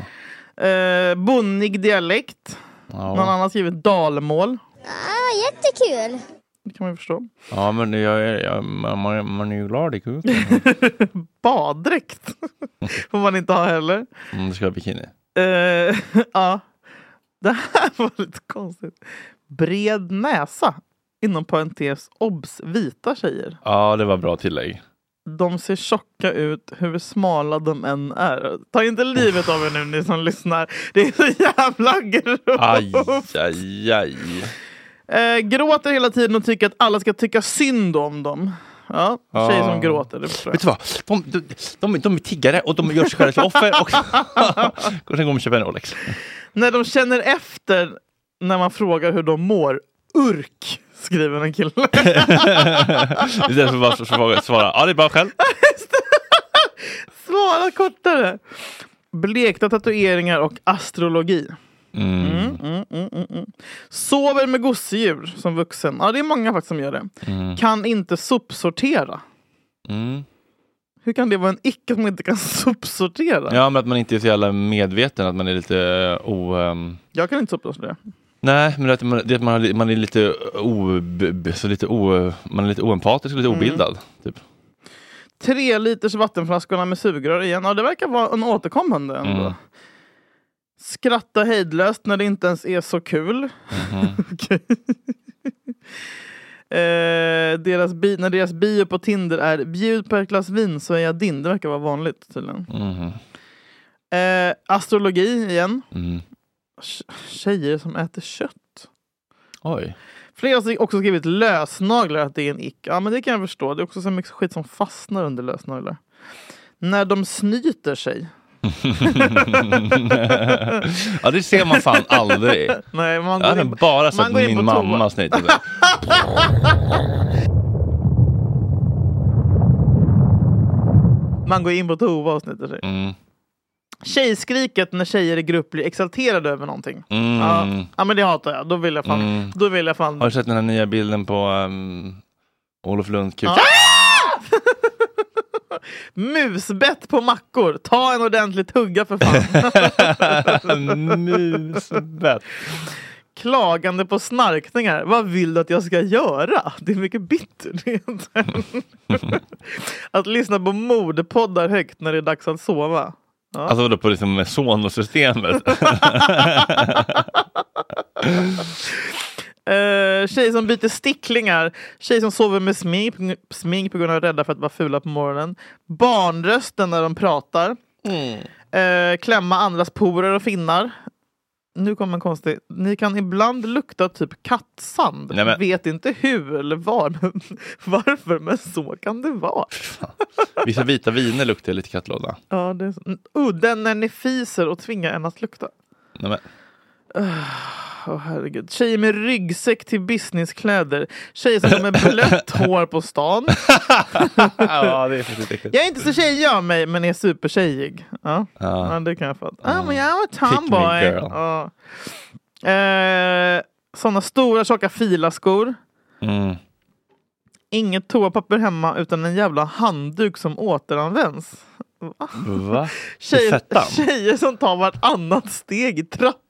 [SPEAKER 2] Eh, bonnig dialekt.
[SPEAKER 1] Ja.
[SPEAKER 2] Någon annan har skrivit dalmål.
[SPEAKER 5] Ah, jättekul!
[SPEAKER 2] Det kan man ju förstå.
[SPEAKER 1] Ja, men jag, är- jag, man, man är ju glad i kuken.
[SPEAKER 2] Baddräkt får man inte ha heller.
[SPEAKER 1] Om du ska ha bikini.
[SPEAKER 2] Eh, ja. Det här var lite konstigt. bred näsa. Inom parentes obs vita tjejer.
[SPEAKER 1] Ja, det var bra tillägg.
[SPEAKER 2] De ser tjocka ut hur smala de än är. Ta inte livet av er nu ni som lyssnar. Det är så jävla grovt.
[SPEAKER 1] Aj, aj, aj.
[SPEAKER 2] Eh, gråter hela tiden och tycker att alla ska tycka synd om dem. Ja, tjejer
[SPEAKER 1] Ja.
[SPEAKER 2] som gråter. Det förstår jag.
[SPEAKER 1] Ah. Vet du vad? De, de, de, de är tiggare och de gör sig själva till offer och, och sen går de och köper en Rolex.
[SPEAKER 2] När de känner efter när man frågar hur de mår. Urk, skriver en kille.
[SPEAKER 1] Istället för att bara svara, svara ja det är bra själv.
[SPEAKER 2] Svara kortare. Blekta tatueringar och astrologi. Mm, mm, mm, mm, mm. Sover med gosedjur som vuxen. Ja, det är många faktiskt som gör det.
[SPEAKER 1] Mm.
[SPEAKER 2] Kan inte sopsortera.
[SPEAKER 1] Mm.
[SPEAKER 2] Hur kan det vara en icke som inte kan sopsortera?
[SPEAKER 1] Ja, men att man inte är så jävla medveten, att man är lite eh, o... ehm,
[SPEAKER 2] Jag kan inte sopsortera.
[SPEAKER 1] Nej, men att man, det är att man, har li- man är lite, o, b- b- så lite, o, man är lite oempatisk och lite
[SPEAKER 2] Mm.
[SPEAKER 1] obildad. Typ.
[SPEAKER 2] Tre liters vattenflaskorna med sugrör igen. Ja, det verkar vara en återkommande. ändå.
[SPEAKER 1] Mm.
[SPEAKER 2] Skratta hejdlöst när det inte ens är så kul. Okej. eh, deras bi, när deras bio på Tinder är bjud på ett glas vin så är jag din. Det verkar vara vanligt tydligen.
[SPEAKER 1] Mhm.
[SPEAKER 2] Eh, astrologi igen.
[SPEAKER 1] Mm.
[SPEAKER 2] Tj- Tjejer som äter kött.
[SPEAKER 1] Oj.
[SPEAKER 2] Flera har också skrivit lösnaglar att det är en ick. Ja men det kan jag förstå. Det är också så mycket skit som fastnar under lösnaglar. När de snyter sig.
[SPEAKER 1] ja, det ser man fan aldrig.
[SPEAKER 2] Nej,
[SPEAKER 1] jag
[SPEAKER 2] man går
[SPEAKER 1] hade
[SPEAKER 2] in på-
[SPEAKER 1] bara
[SPEAKER 2] man
[SPEAKER 1] sett
[SPEAKER 2] går in på
[SPEAKER 1] min
[SPEAKER 2] toa.
[SPEAKER 1] mamma snita sig.
[SPEAKER 2] Man går in på toa och snyter sig.
[SPEAKER 1] Mm.
[SPEAKER 2] Tjejskriket när tjejer i grupp blir exalterade över någonting.
[SPEAKER 1] Mm.
[SPEAKER 2] Ja, ja men det hatar jag. Då vill jag fan...
[SPEAKER 1] Mm.
[SPEAKER 2] Då vill jag fan...
[SPEAKER 1] Har du sett den här nya bilden på um, Olof Lundkuk?
[SPEAKER 2] Musbett på mackor. Ta en ordentlig tugga för fan.
[SPEAKER 1] Musbett.
[SPEAKER 2] Klagande på snarkningar. Vad vill du att jag ska göra? Det är mycket bitterhet. att lyssna på modepoddar högt när det är dags att sova. Ja.
[SPEAKER 1] Alltså vadå, på liksom Sonos-systemet?
[SPEAKER 2] Eh, tjej som byter sticklingar, tjej som sover med smink, smink på grund av rädda för att vara fula på morgonen. Barnrösten när de pratar.
[SPEAKER 1] Mm.
[SPEAKER 2] Eh, klämma andras porer och finnar. Nu kommer en konstig. Ni kan ibland lukta typ kattsand.
[SPEAKER 1] Nej, men-
[SPEAKER 2] Vet inte hur eller var, men varför, men så kan det vara.
[SPEAKER 1] Vissa vita viner luktar lite kattlåda.
[SPEAKER 2] Ja, det är så. Udden när ni fiser och tvingar en att lukta.
[SPEAKER 1] Nej, men.
[SPEAKER 2] Åh herregud. Tjejer med ryggsäck till businesskläder. Tjejer som går med blött hår på stan.
[SPEAKER 1] ja, det är faktiskt äckligt.
[SPEAKER 2] Jag är inte så tjejig av mig, men är supertjejig. Ja,
[SPEAKER 1] Ja.
[SPEAKER 2] ja. det kan jag fatta. Ah, men jag är
[SPEAKER 1] Pick me
[SPEAKER 2] tomboy.
[SPEAKER 1] girl.
[SPEAKER 2] Ja. Eh, Sådana stora tjocka filaskor.
[SPEAKER 1] Mm.
[SPEAKER 2] Inget toapapper hemma utan en jävla handduk som återanvänds. Va?
[SPEAKER 1] Va? I
[SPEAKER 2] Tjejer,
[SPEAKER 1] fettan?
[SPEAKER 2] tjejer som tar vartannat steg i trappor.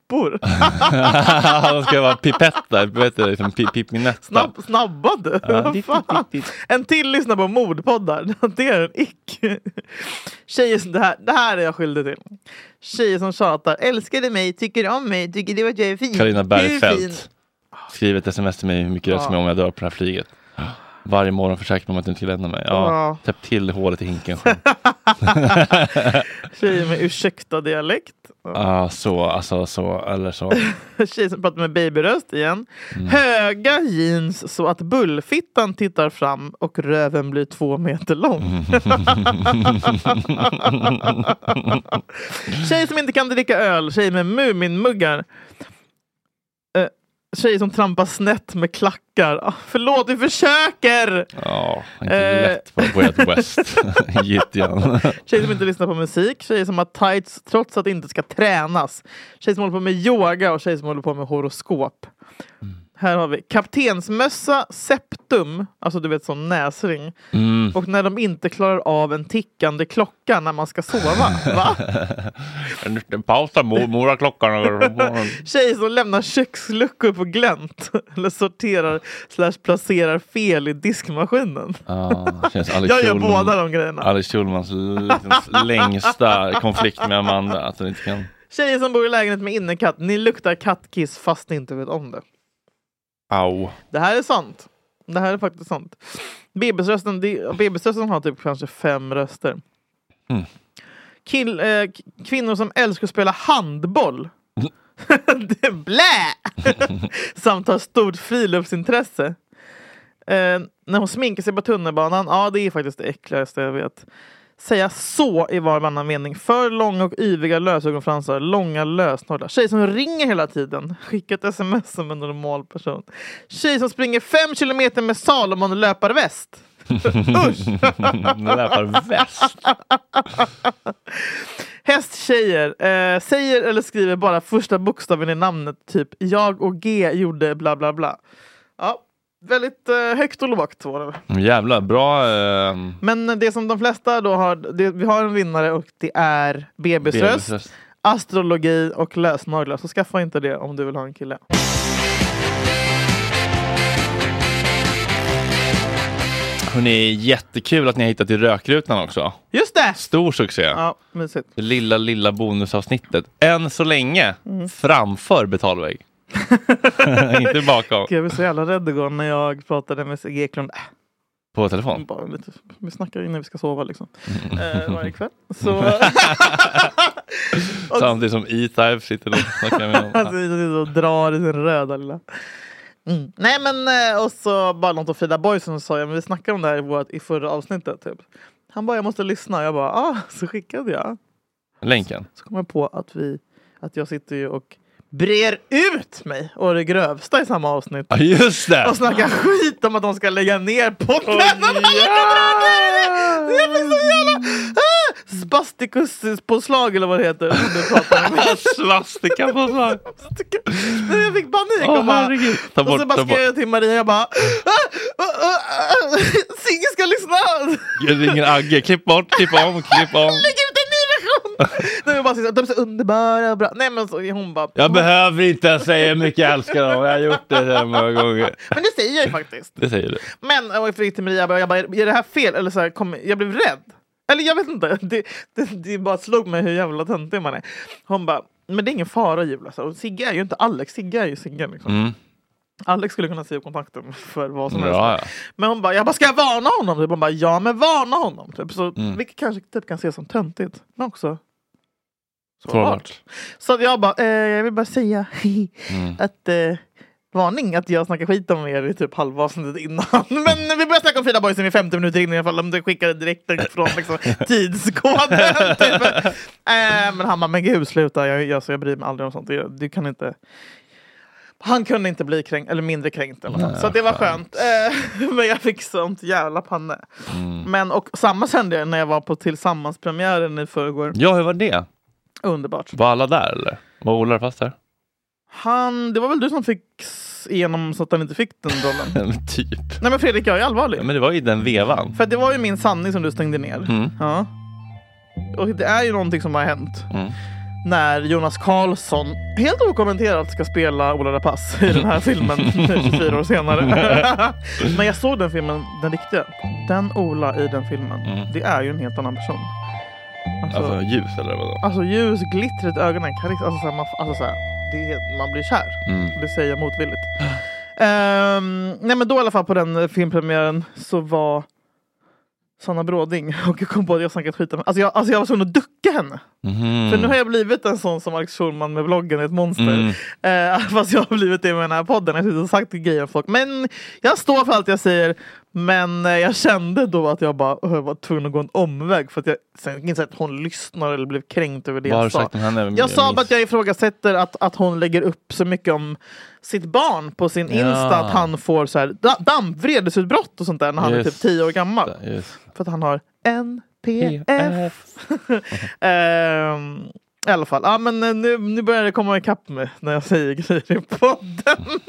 [SPEAKER 1] Då ska jag vara pipetta, vad heter det? Liksom pi- pipinetta.
[SPEAKER 2] Snabb, snabba du!
[SPEAKER 1] Ja, typ dit, dit,
[SPEAKER 2] Fan. En till lyssnar på mordpoddar. Det är en ick. Tjejer, som- det, här, det här är jag skyldig till. Tjejer som tjatar. Älskar du mig? Tycker du om mig? Tycker du att jag är fin?
[SPEAKER 1] Carina
[SPEAKER 2] Du är fin.
[SPEAKER 1] Bergfeldt. Skriv ett sms till mig hur mycket jag älskar mig om jag dör på det här flyget. Varje morgon försäkrar man att du inte lämnar mig. Ja,
[SPEAKER 2] Ja.
[SPEAKER 1] täpp till hålet i hinken själv.
[SPEAKER 2] Tjejer med ursäkta dialekt.
[SPEAKER 1] ah, så, alltså så, eller så.
[SPEAKER 2] Tjejer som pratar med babyröst igen. Höga jeans så att bullfittan tittar fram och röven blir två meter lång. Tjejer som inte kan dricka öl, tjejer med Muminmuggar. Eh, Tjejer som trampar snett med klackar. Ah, Förlåt, vi försöker!
[SPEAKER 1] Ja, inte
[SPEAKER 2] Eh.
[SPEAKER 1] lätt på Way Out West. Gideon.
[SPEAKER 2] Tjejer som inte lyssnar på musik, tjejer som har tights trots att det inte ska tränas. Tjejer som håller på med yoga och tjejer som håller på med horoskop. Här har vi kaptensmössa, septum, alltså du vet sån näsring.
[SPEAKER 1] Mm.
[SPEAKER 2] Och när de inte klarar av en tickande klocka när man ska sova. Va?
[SPEAKER 1] Pausa mor, mora klockan.
[SPEAKER 2] Tjejer som lämnar köksluckor på glänt. Eller sorterar slash placerar fel i diskmaskinen.
[SPEAKER 1] Ah, känns Alex
[SPEAKER 2] Jag gör
[SPEAKER 1] Schulman-
[SPEAKER 2] båda de grejerna.
[SPEAKER 1] Alex Schulmans liksom längsta konflikt med Amanda. Att hon inte kan...
[SPEAKER 2] Tjejer som bor i lägenhet med innekatt, ni luktar kattkiss fast ni inte vet om det.
[SPEAKER 1] Au.
[SPEAKER 2] Det här är sant. Det här är faktiskt sant. Bebisrösten, det- bebisrösten har typ kanske fem röster.
[SPEAKER 1] Mm.
[SPEAKER 2] Kill, eh, k- kvinnor som älskar att spela handboll.
[SPEAKER 1] Mm.
[SPEAKER 2] det är blä! Samt har stort friluftsintresse. Eh, när hon sminkar sig på tunnelbanan, ja det är faktiskt det äckligaste jag vet. Säga så i var och varannan mening. För långa och yviga lösögonfransar, långa lösnålar. Tjej som ringer hela tiden. Skicka ett sms som en normal person. Tjej som springer fem kilometer med Salomon löparväst. Usch!
[SPEAKER 1] Löparväst.
[SPEAKER 2] Hästtjejer eh, säger eller skriver bara första bokstaven i namnet, typ jag och G gjorde bla bla bla. Ja, väldigt eh, högt och lågt var det.
[SPEAKER 1] Mm, Jävlar, bra. ehm,
[SPEAKER 2] Men det som de flesta då har, det, vi har en vinnare och det är bebisröst,
[SPEAKER 1] Bebisröst.
[SPEAKER 2] astrologi och lösnaglar. Så skaffa inte det om du vill ha en kille.
[SPEAKER 1] Hörni, jättekul att ni har hittat till rökrutan också.
[SPEAKER 2] Just det!
[SPEAKER 1] Stor succé.
[SPEAKER 2] Ja, mysigt.
[SPEAKER 1] Det lilla, lilla bonusavsnittet. Än så länge
[SPEAKER 2] Mm.
[SPEAKER 1] framför betalvägg. Inte bakom.
[SPEAKER 2] Gud, jag blev så jävla rädd igår när jag pratade med Sigge Eklund. Äh,
[SPEAKER 1] På telefon.
[SPEAKER 2] Bara lite, vi snackar innan vi ska sova liksom. Eh, varje kväll. Så... Och-
[SPEAKER 1] Samtidigt som E-Type sitter och snackar med någon.
[SPEAKER 2] Alltså, och drar i sin röda lilla... Mm. Nej men eh, och så bara något om Frida Boysen sa jag, men vi snackade om det här i, vårt, i förra avsnittet. Typ. Han bara jag måste lyssna, jag bara ah, så skickade jag.
[SPEAKER 1] Länken.
[SPEAKER 2] Så kom jag på att, vi, att jag sitter ju och brer ut mig och det grövsta i samma avsnitt.
[SPEAKER 1] Ja, just det!
[SPEAKER 2] Och snackar skit om att de ska lägga ner podden! Jag fick så jävla... Ah, Spastikuspåslag eller vad det heter.
[SPEAKER 1] Svastikapåslag!
[SPEAKER 2] Nej, jag fick panik
[SPEAKER 1] Åh,
[SPEAKER 2] och bara...
[SPEAKER 1] herregud. Ta
[SPEAKER 2] och
[SPEAKER 1] bort, ta
[SPEAKER 2] så bara
[SPEAKER 1] bort.
[SPEAKER 2] skrev jag till Maria, jag bara... "Ah, ah, ah, ah, Sigge ska lyssna!
[SPEAKER 1] Jag ringer Agge. Klipp bort, klipp om, klipp om.
[SPEAKER 2] Lägg ut en ny version! Nej, jag bara, så- de är så underbara och bra. Nej men så, hon bara...
[SPEAKER 1] Jag behöver inte ens säga hur mycket jag älskar dem. Jag har gjort det så här många gånger.
[SPEAKER 2] Men det säger jag ju faktiskt.
[SPEAKER 1] Det säger du.
[SPEAKER 2] Men och jag fick till Maria, jag bara, jag bara, är det här fel? Eller så här, kom, jag blev rädd. Eller jag vet inte, det, det, det bara slog mig hur jävla töntig man är. Hon bara, men det är ingen fara Julia. Så, Och Sigge är ju inte Alex, Sigge är ju Sigge. Liksom.
[SPEAKER 1] Mm.
[SPEAKER 2] Alex skulle kunna säga upp kontakten för vad som helst.
[SPEAKER 1] Bra, ja.
[SPEAKER 2] Men hon bara, jag bara, ska jag varna honom? Typ. Hon bara, ja men varna honom. Typ. Så,
[SPEAKER 1] Mm.
[SPEAKER 2] Vilket kanske typ kan ses som töntigt, men också
[SPEAKER 1] Sårbart.
[SPEAKER 2] så att jag bara, eh, jag vill bara säga
[SPEAKER 1] Mm.
[SPEAKER 2] att eh, varning att jag snackar skit om er i typ halva avsnittet innan. Men vi börjar snacka om Frida Boysen i 50 minuter in i alla fall. Om du skickade direkt från liksom, tidskoden. typ. eh, men han bara, men gud sluta, jag, alltså, jag, så jag bryr mig aldrig om sånt. Jag, du kan inte... Han kunde inte bli kränkt, eller mindre kränkt i alla fall.
[SPEAKER 1] Nej,
[SPEAKER 2] Så det var
[SPEAKER 1] skönt.
[SPEAKER 2] skönt. Eh, men jag fick sånt jävla panne.
[SPEAKER 1] Mm.
[SPEAKER 2] Men och samma kände jag när jag var på Tillsammans-premiären i förrgår.
[SPEAKER 1] Ja, hur var det?
[SPEAKER 2] Underbart.
[SPEAKER 1] Var alla där eller? Var Ola fast där?
[SPEAKER 2] Han, det var väl du som fick s- igenom så att han inte fick den rollen?
[SPEAKER 1] Men typ.
[SPEAKER 2] Nej men Fredrik, jag är allvarlig.
[SPEAKER 1] Ja, men det var ju den vevan.
[SPEAKER 2] För att det var ju min sanning som du stängde ner.
[SPEAKER 1] Mm.
[SPEAKER 2] Ja. Och det är ju någonting som har hänt.
[SPEAKER 1] Mm.
[SPEAKER 2] När Jonas Karlsson helt okommenterat ska spela Ola Rapace i den här filmen nu 24 år senare. men jag såg den filmen, den riktiga. Den Ola i den filmen, det är ju en helt annan person. Alltså-
[SPEAKER 1] Mm. Alltså ljus eller vadå?
[SPEAKER 2] Alltså ljus, glittret, ögonen, karisma. Alltså, så här, man, alltså, så här, det är, man blir kär.
[SPEAKER 1] Mm.
[SPEAKER 2] Det säger jag motvilligt. Ehm, nej men då i alla fall på den eh, filmpremiären så var Sanna Bråding och jag kom på att jag snackat skit om henne. Alltså jag, alltså jag var tvungen att ducka henne.
[SPEAKER 1] Mhm.
[SPEAKER 2] För nu har jag blivit en sån som Alex Schulman med vloggen är ett
[SPEAKER 1] Mm.
[SPEAKER 2] monster. Eh, fast jag har blivit det med den här podden. Jag har suttit och sagt grejer om folk. Men jag står för allt jag säger. Men eh, jag kände då att jag bara eh, var tvungen att gå en omväg. För att jag sen insåg att hon lyssnar eller blev kränkt över det
[SPEAKER 1] Vad har du
[SPEAKER 2] jag sa.
[SPEAKER 1] sagt om henne?
[SPEAKER 2] Jag sa
[SPEAKER 1] Miss-
[SPEAKER 2] bara att jag ifrågasätter att, att hon lägger upp så mycket om sitt barn på sin
[SPEAKER 1] Ja.
[SPEAKER 2] Insta. Att han får så här, da- damp, vredesutbrott och sånt där när han är
[SPEAKER 1] Just
[SPEAKER 2] typ 10 år gammal. E
[SPEAKER 1] Just.
[SPEAKER 2] För att han har NPF. Ehm, I alla fall, ja, men eh, nu, nu börjar det komma ikapp mig när jag säger grejer i podden.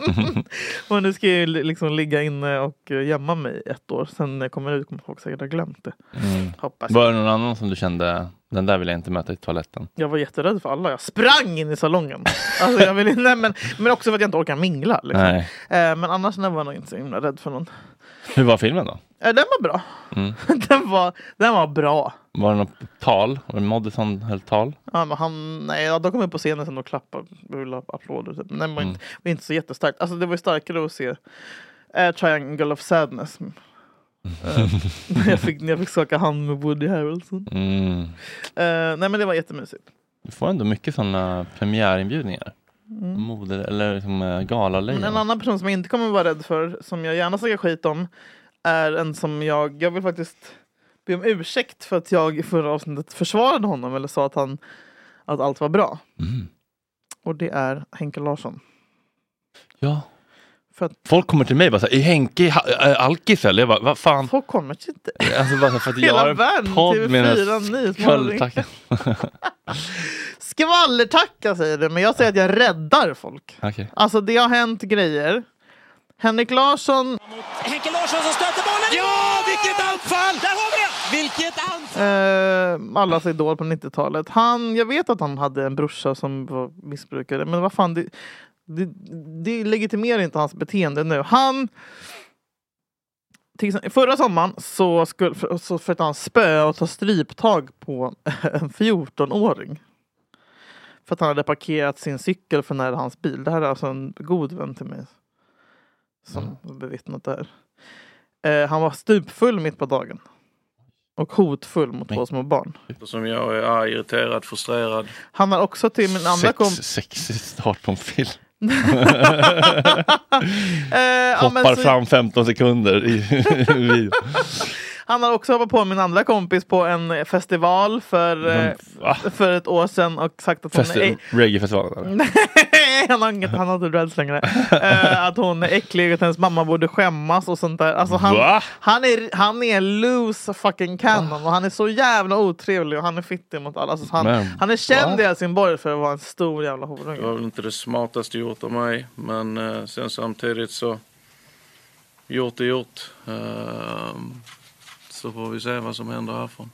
[SPEAKER 2] och nu ska jag ju li- liksom ligga inne och eh, gömma mig i ett år. Sen när jag kommer ut kommer folk säkert ha glömt det.
[SPEAKER 1] Mm.
[SPEAKER 2] Hoppas jag.
[SPEAKER 1] Var det någon annan som du kände, den där vill jag inte möta i toaletten?
[SPEAKER 2] Jag var jätterädd för alla. Jag sprang in i salongen. Alltså jag vill, nej, men, men också för att jag inte orkar mingla. Liksom.
[SPEAKER 1] Nej.
[SPEAKER 2] Eh, men annars nej, var jag nog inte så himla rädd för någon.
[SPEAKER 1] Hur var filmen då?
[SPEAKER 2] Eh, den var bra.
[SPEAKER 1] Mm.
[SPEAKER 2] den, var, den var bra.
[SPEAKER 1] Var det något tal? Var det Moodysson höll tal?
[SPEAKER 2] Ja, men han, nej, ja, de kom upp på scenen sen och klappade, rullade applåder. Typ. Nej, men
[SPEAKER 1] Mm.
[SPEAKER 2] inte, det var inte så jättestarkt. Alltså, det var ju starkare att se Air Triangle of Sadness. Eh, när jag fick, när jag fick skaka hand med Woody Harrelson.
[SPEAKER 1] Mm.
[SPEAKER 2] Eh, nej men det var jättemysigt.
[SPEAKER 1] Du får ändå mycket sådana premiärinbjudningar.
[SPEAKER 2] Mm.
[SPEAKER 1] Mode, eller liksom, eh,
[SPEAKER 2] Men
[SPEAKER 1] galalejon.
[SPEAKER 2] en annan person som jag inte kommer vara rädd för, som jag gärna snackar skit om, är en som jag, jag vill faktiskt be om ursäkt för att jag i förra avsnittet försvarade honom eller sa att, han, att allt var bra.
[SPEAKER 1] Mm.
[SPEAKER 2] Och det är Henke Larsson.
[SPEAKER 1] Ja.
[SPEAKER 2] För att-
[SPEAKER 1] Folk kommer till mig och bara så här, är Henke ha- äh, alkis eller? Jag bara, vad fan?
[SPEAKER 2] Folk kommer till dig?
[SPEAKER 1] Alltså bara för att jag
[SPEAKER 2] Hela
[SPEAKER 1] har en
[SPEAKER 2] världen,
[SPEAKER 1] podd med den
[SPEAKER 2] TV4
[SPEAKER 1] här
[SPEAKER 2] Nyhetsmorgon.
[SPEAKER 1] sköldtackan.
[SPEAKER 2] Skvallertacka säger du, men jag säger att jag räddar folk.
[SPEAKER 1] Okej.
[SPEAKER 2] Alltså det har hänt grejer. Henrik Larsson
[SPEAKER 18] Henke Larsson som stöter bollen. Ja, vilket anfall! Där har vi det! Vilket anfall!
[SPEAKER 2] Eh, allas idol på 90-talet. Han, jag vet att han hade en brorsa som var missbrukare, men vad fan, det, det, det legitimerar inte hans beteende nu. Han... Till exempel, förra sommaren så, skulle, för, så försökte han spöa och ta stryptag på en 14-åring. För att han hade parkerat sin cykel för nära hans bil. Det här är alltså en god vän till mig som har bevittnat det här. Eh, han var stupfull mitt på dagen. Och hotfull mot två små barn.
[SPEAKER 16] Som jag är arg, irriterad, frustrerad.
[SPEAKER 2] Han har också till min andra
[SPEAKER 1] Sex,
[SPEAKER 2] kompis...
[SPEAKER 1] Sexig start på en film.
[SPEAKER 2] Eh, ja, men
[SPEAKER 1] Hoppar
[SPEAKER 2] så-
[SPEAKER 1] fram 15 sekunder i, i videon.
[SPEAKER 2] Han har också hoppat på min andra kompis på en festival för, eh,
[SPEAKER 1] Men, va?
[SPEAKER 2] för ett år sedan och sagt att hon
[SPEAKER 1] Festi-
[SPEAKER 2] är...
[SPEAKER 1] Reggaefestivalen. eller?
[SPEAKER 2] Nej, han har, inget, han har inte dreads längre. Eh, att hon är äcklig och att hennes mamma borde skämmas och sånt där. Alltså han,
[SPEAKER 1] Va?
[SPEAKER 2] han, är, han är loose fucking cannon och han är så jävla otrevlig och han är fittig mot alla. Alltså, han,
[SPEAKER 16] Men,
[SPEAKER 2] han är känd
[SPEAKER 16] va?
[SPEAKER 2] i Helsingborg för att vara en stor jävla horunge.
[SPEAKER 16] Det var väl inte det smartaste gjort av mig, men eh, sen samtidigt så... Gjort är gjort. Ehm, så får vi se vad som händer härifrån.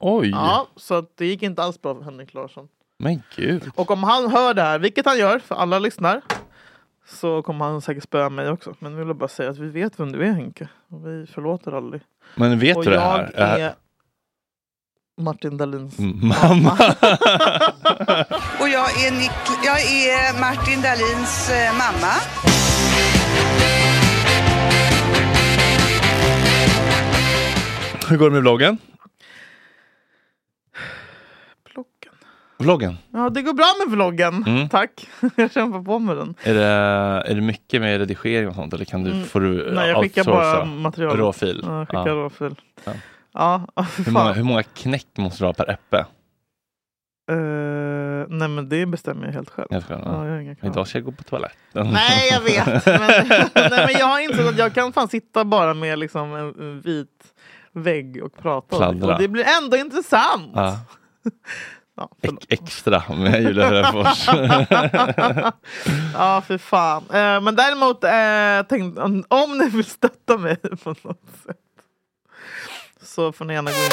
[SPEAKER 1] Oj,
[SPEAKER 2] Ja, så att det gick inte alls bra för Henrik Larsson.
[SPEAKER 1] men gud.
[SPEAKER 2] Och om han hör det här, vilket han gör, för alla lyssnar, så kommer han säkert spöa mig också. Men nu vill jag bara säga att vi vet vem du är Henke. Och vi förlåter aldrig.
[SPEAKER 1] Men vet
[SPEAKER 2] och
[SPEAKER 1] du det här?
[SPEAKER 2] jag
[SPEAKER 1] Är-
[SPEAKER 2] är Martin Dahlins
[SPEAKER 1] Mm, Mamma.
[SPEAKER 3] Och jag är, Nik- jag är Martin Dahlins eh, mamma.
[SPEAKER 1] Hur går det med vloggen? Vloggen?
[SPEAKER 2] Ja, det går bra med vloggen.
[SPEAKER 1] Mm.
[SPEAKER 2] Tack. Jag kämpar på med den.
[SPEAKER 1] Är det, är det mycket med redigering och sånt eller kan du,
[SPEAKER 2] Mm.
[SPEAKER 1] får du
[SPEAKER 2] Nej, jag skickar bara
[SPEAKER 1] outsourca?
[SPEAKER 2] material.
[SPEAKER 1] Råfil?
[SPEAKER 2] Ja, jag skickar råfil.
[SPEAKER 1] Ja.
[SPEAKER 2] Ja, oh, fy
[SPEAKER 1] Hur,
[SPEAKER 2] fan.
[SPEAKER 1] många, hur många knäck måste du ha per äppe?
[SPEAKER 2] Eh, nej, men det bestämmer jag helt själv.
[SPEAKER 1] Jag ska,
[SPEAKER 2] Ja, jag har inga krav.
[SPEAKER 1] Idag ska jag gå på toaletten.
[SPEAKER 2] Nej, jag vet. Men, nej, men jag har insett att jag kan fan sitta bara med liksom en en vit vägg och prata. om det.
[SPEAKER 1] Pladdra.
[SPEAKER 2] Och det blir ändå intressant.
[SPEAKER 1] Ja.
[SPEAKER 2] Ja,
[SPEAKER 1] Ex- extra med Julia Frändfors.
[SPEAKER 2] ja, för fan. Eh, men däremot, eh, tänk, om, om ni vill stötta mig på något sätt så får ni gärna gå in.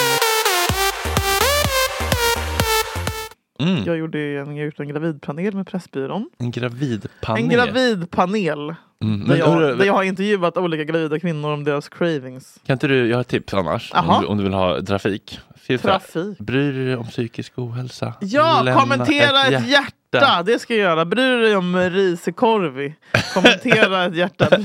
[SPEAKER 1] Mm.
[SPEAKER 2] Jag gjorde ju en, jag gjorde en gravidpanel med Pressbyrån.
[SPEAKER 1] en gravidpanel.
[SPEAKER 2] En gravidpanel.
[SPEAKER 1] Mm, men
[SPEAKER 2] Där,
[SPEAKER 1] hur-
[SPEAKER 2] jag, där jag har intervjuat olika gravida kvinnor om deras cravings.
[SPEAKER 1] Kan inte du, jag har ett tips annars,
[SPEAKER 2] Jaha.
[SPEAKER 1] om du, om du vill ha trafik. Finns det-
[SPEAKER 2] Trafik?
[SPEAKER 1] Bryr du dig om psykisk ohälsa?
[SPEAKER 2] Ja,
[SPEAKER 1] Lämna
[SPEAKER 2] kommentera ett hjärta. Det ska jag göra. Bryr dig om risekorvi. Kommentera ett hjärta. Eh,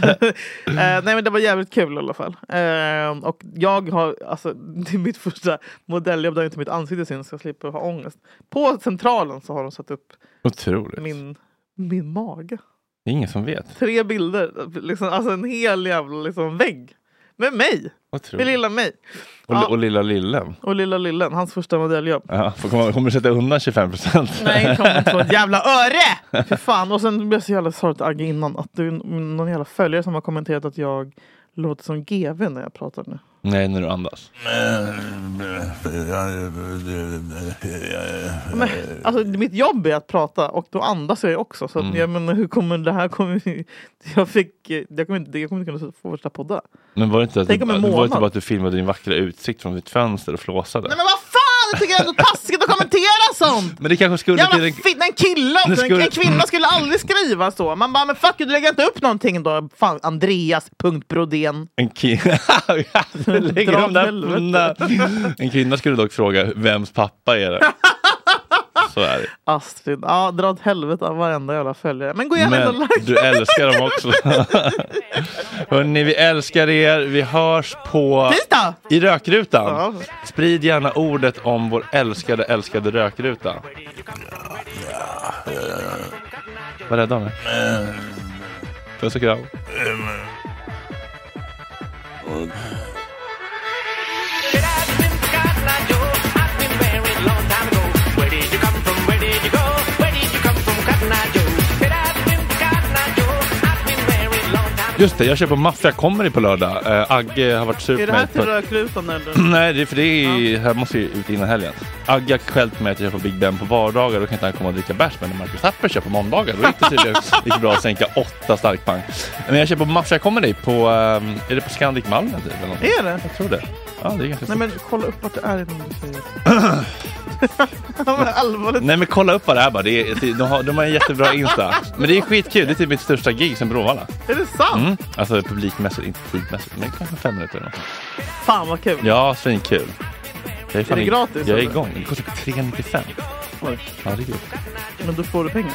[SPEAKER 2] nej men det var jävligt kul i alla fall. Eh, och jag har, alltså det är mitt första modelljobb där inte mitt ansikte syns. så Jag slipper ha ångest. På centralen så har de satt upp
[SPEAKER 1] Otroligt.
[SPEAKER 2] min, min mage.
[SPEAKER 1] Det är ingen som vet.
[SPEAKER 2] Tre bilder. Liksom, alltså en hel jävla liksom, vägg. Med mig.
[SPEAKER 1] Otroligt.
[SPEAKER 2] Med lilla mig.
[SPEAKER 1] Och,
[SPEAKER 2] Ja,
[SPEAKER 1] och lilla lillen.
[SPEAKER 2] och lilla lillen, hans första modelljobb.
[SPEAKER 1] Ja, får- kommer, kommer du sätta undan 25 procent?
[SPEAKER 2] Nej, kommer inte få ett jävla öre! Fy fan. Och sen blev jag så jävla sorgligt arg innan att det är någon jävla följare som har kommenterat att jag låter som GV när jag pratar nu.
[SPEAKER 1] Nej, när du andas.
[SPEAKER 2] Men, alltså, mitt jobb är att prata och då andas jag ju också. Så att,
[SPEAKER 1] Mm.
[SPEAKER 2] jag menar, hur kommer det här... Kommer, ju- jag, fick, jag, kommer inte, jag kommer inte kunna fortsätta podda.
[SPEAKER 1] Men var det inte, att du,
[SPEAKER 2] Tänk om en
[SPEAKER 1] var det inte
[SPEAKER 2] månad.
[SPEAKER 1] bara att du filmade din vackra utsikt från ditt fönster och flåsade?
[SPEAKER 2] Nej men vad fan jag tycker det är så taskigt att kommentera sånt!
[SPEAKER 1] Men det kanske skulle
[SPEAKER 2] Jävla
[SPEAKER 1] bli...
[SPEAKER 2] fitna, en kille också!
[SPEAKER 1] Det skulle-
[SPEAKER 2] En kvinna skulle aldrig skriva så. Man bara, men fuck you, du lägger inte upp någonting då. Fan, Andreas punkt Brodén.
[SPEAKER 1] En, ki- Du lägger
[SPEAKER 2] Dra
[SPEAKER 1] de
[SPEAKER 2] åt
[SPEAKER 1] där
[SPEAKER 2] helvete.
[SPEAKER 1] punna. en kvinna skulle dock fråga vems pappa är det? Så är det.
[SPEAKER 2] Astrid, ja dra åt helvete av varenda jävla följare. Men gå gärna in och
[SPEAKER 1] Men
[SPEAKER 2] like.
[SPEAKER 1] du älskar dem också. Hörni, vi älskar er. Vi hörs på...
[SPEAKER 2] Tisdag!
[SPEAKER 1] I rökrutan.
[SPEAKER 2] Ja.
[SPEAKER 1] Sprid gärna ordet om vår älskade, älskade rökruta. Var rädd om mig. Puss och kram.
[SPEAKER 18] Where did you come from? Where did you go? Where did you come from, Cotton Eye Joe? Said I've been Cotton Eye Joe. I've been very long time.
[SPEAKER 1] Just det, jag kör på Mafia Comedy på lördag. Eh, Agge har varit sur på
[SPEAKER 2] Är det
[SPEAKER 1] mig
[SPEAKER 2] här
[SPEAKER 1] för-
[SPEAKER 2] till rökrutan eller?
[SPEAKER 1] Nej, det är för det är, här måste ju ut innan helgen. Agge har skällt mig att jag kör på Big Ben på vardagar. Då kan inte han komma och dricka bärs. Men när Marcus Tapper kör på måndagar, då gick det tydligen gick bra att sänka åtta starkpang. Men jag kör på Mafia Comedy på, ehm, är det på Scandic Malmen typ? Eller någonting?
[SPEAKER 2] Är det?
[SPEAKER 1] Jag tror det. Ja, det är ganska stort.
[SPEAKER 2] Nej men kolla upp vart det är innan du säger. Vad Allvarligt.
[SPEAKER 1] Nej men kolla upp vad det är bara. Det är, det, de, har, de har en jättebra Insta. Men det är skitkul. Det är typ mitt största gig sen Bråvalla.
[SPEAKER 2] Är det sant?
[SPEAKER 1] Mm. Alltså publikmässigt, inte tidmässigt. Men kanske fem minuter eller något.
[SPEAKER 2] Fan vad kul.
[SPEAKER 1] Ja, svinkul. Jag fan
[SPEAKER 2] Är det
[SPEAKER 1] i-
[SPEAKER 2] gratis,
[SPEAKER 1] Jag är
[SPEAKER 2] eller?
[SPEAKER 1] igång. Det kostar 395.
[SPEAKER 2] Oj.
[SPEAKER 1] Ja, det är kul.
[SPEAKER 2] Men då får du pengar.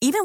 [SPEAKER 4] Even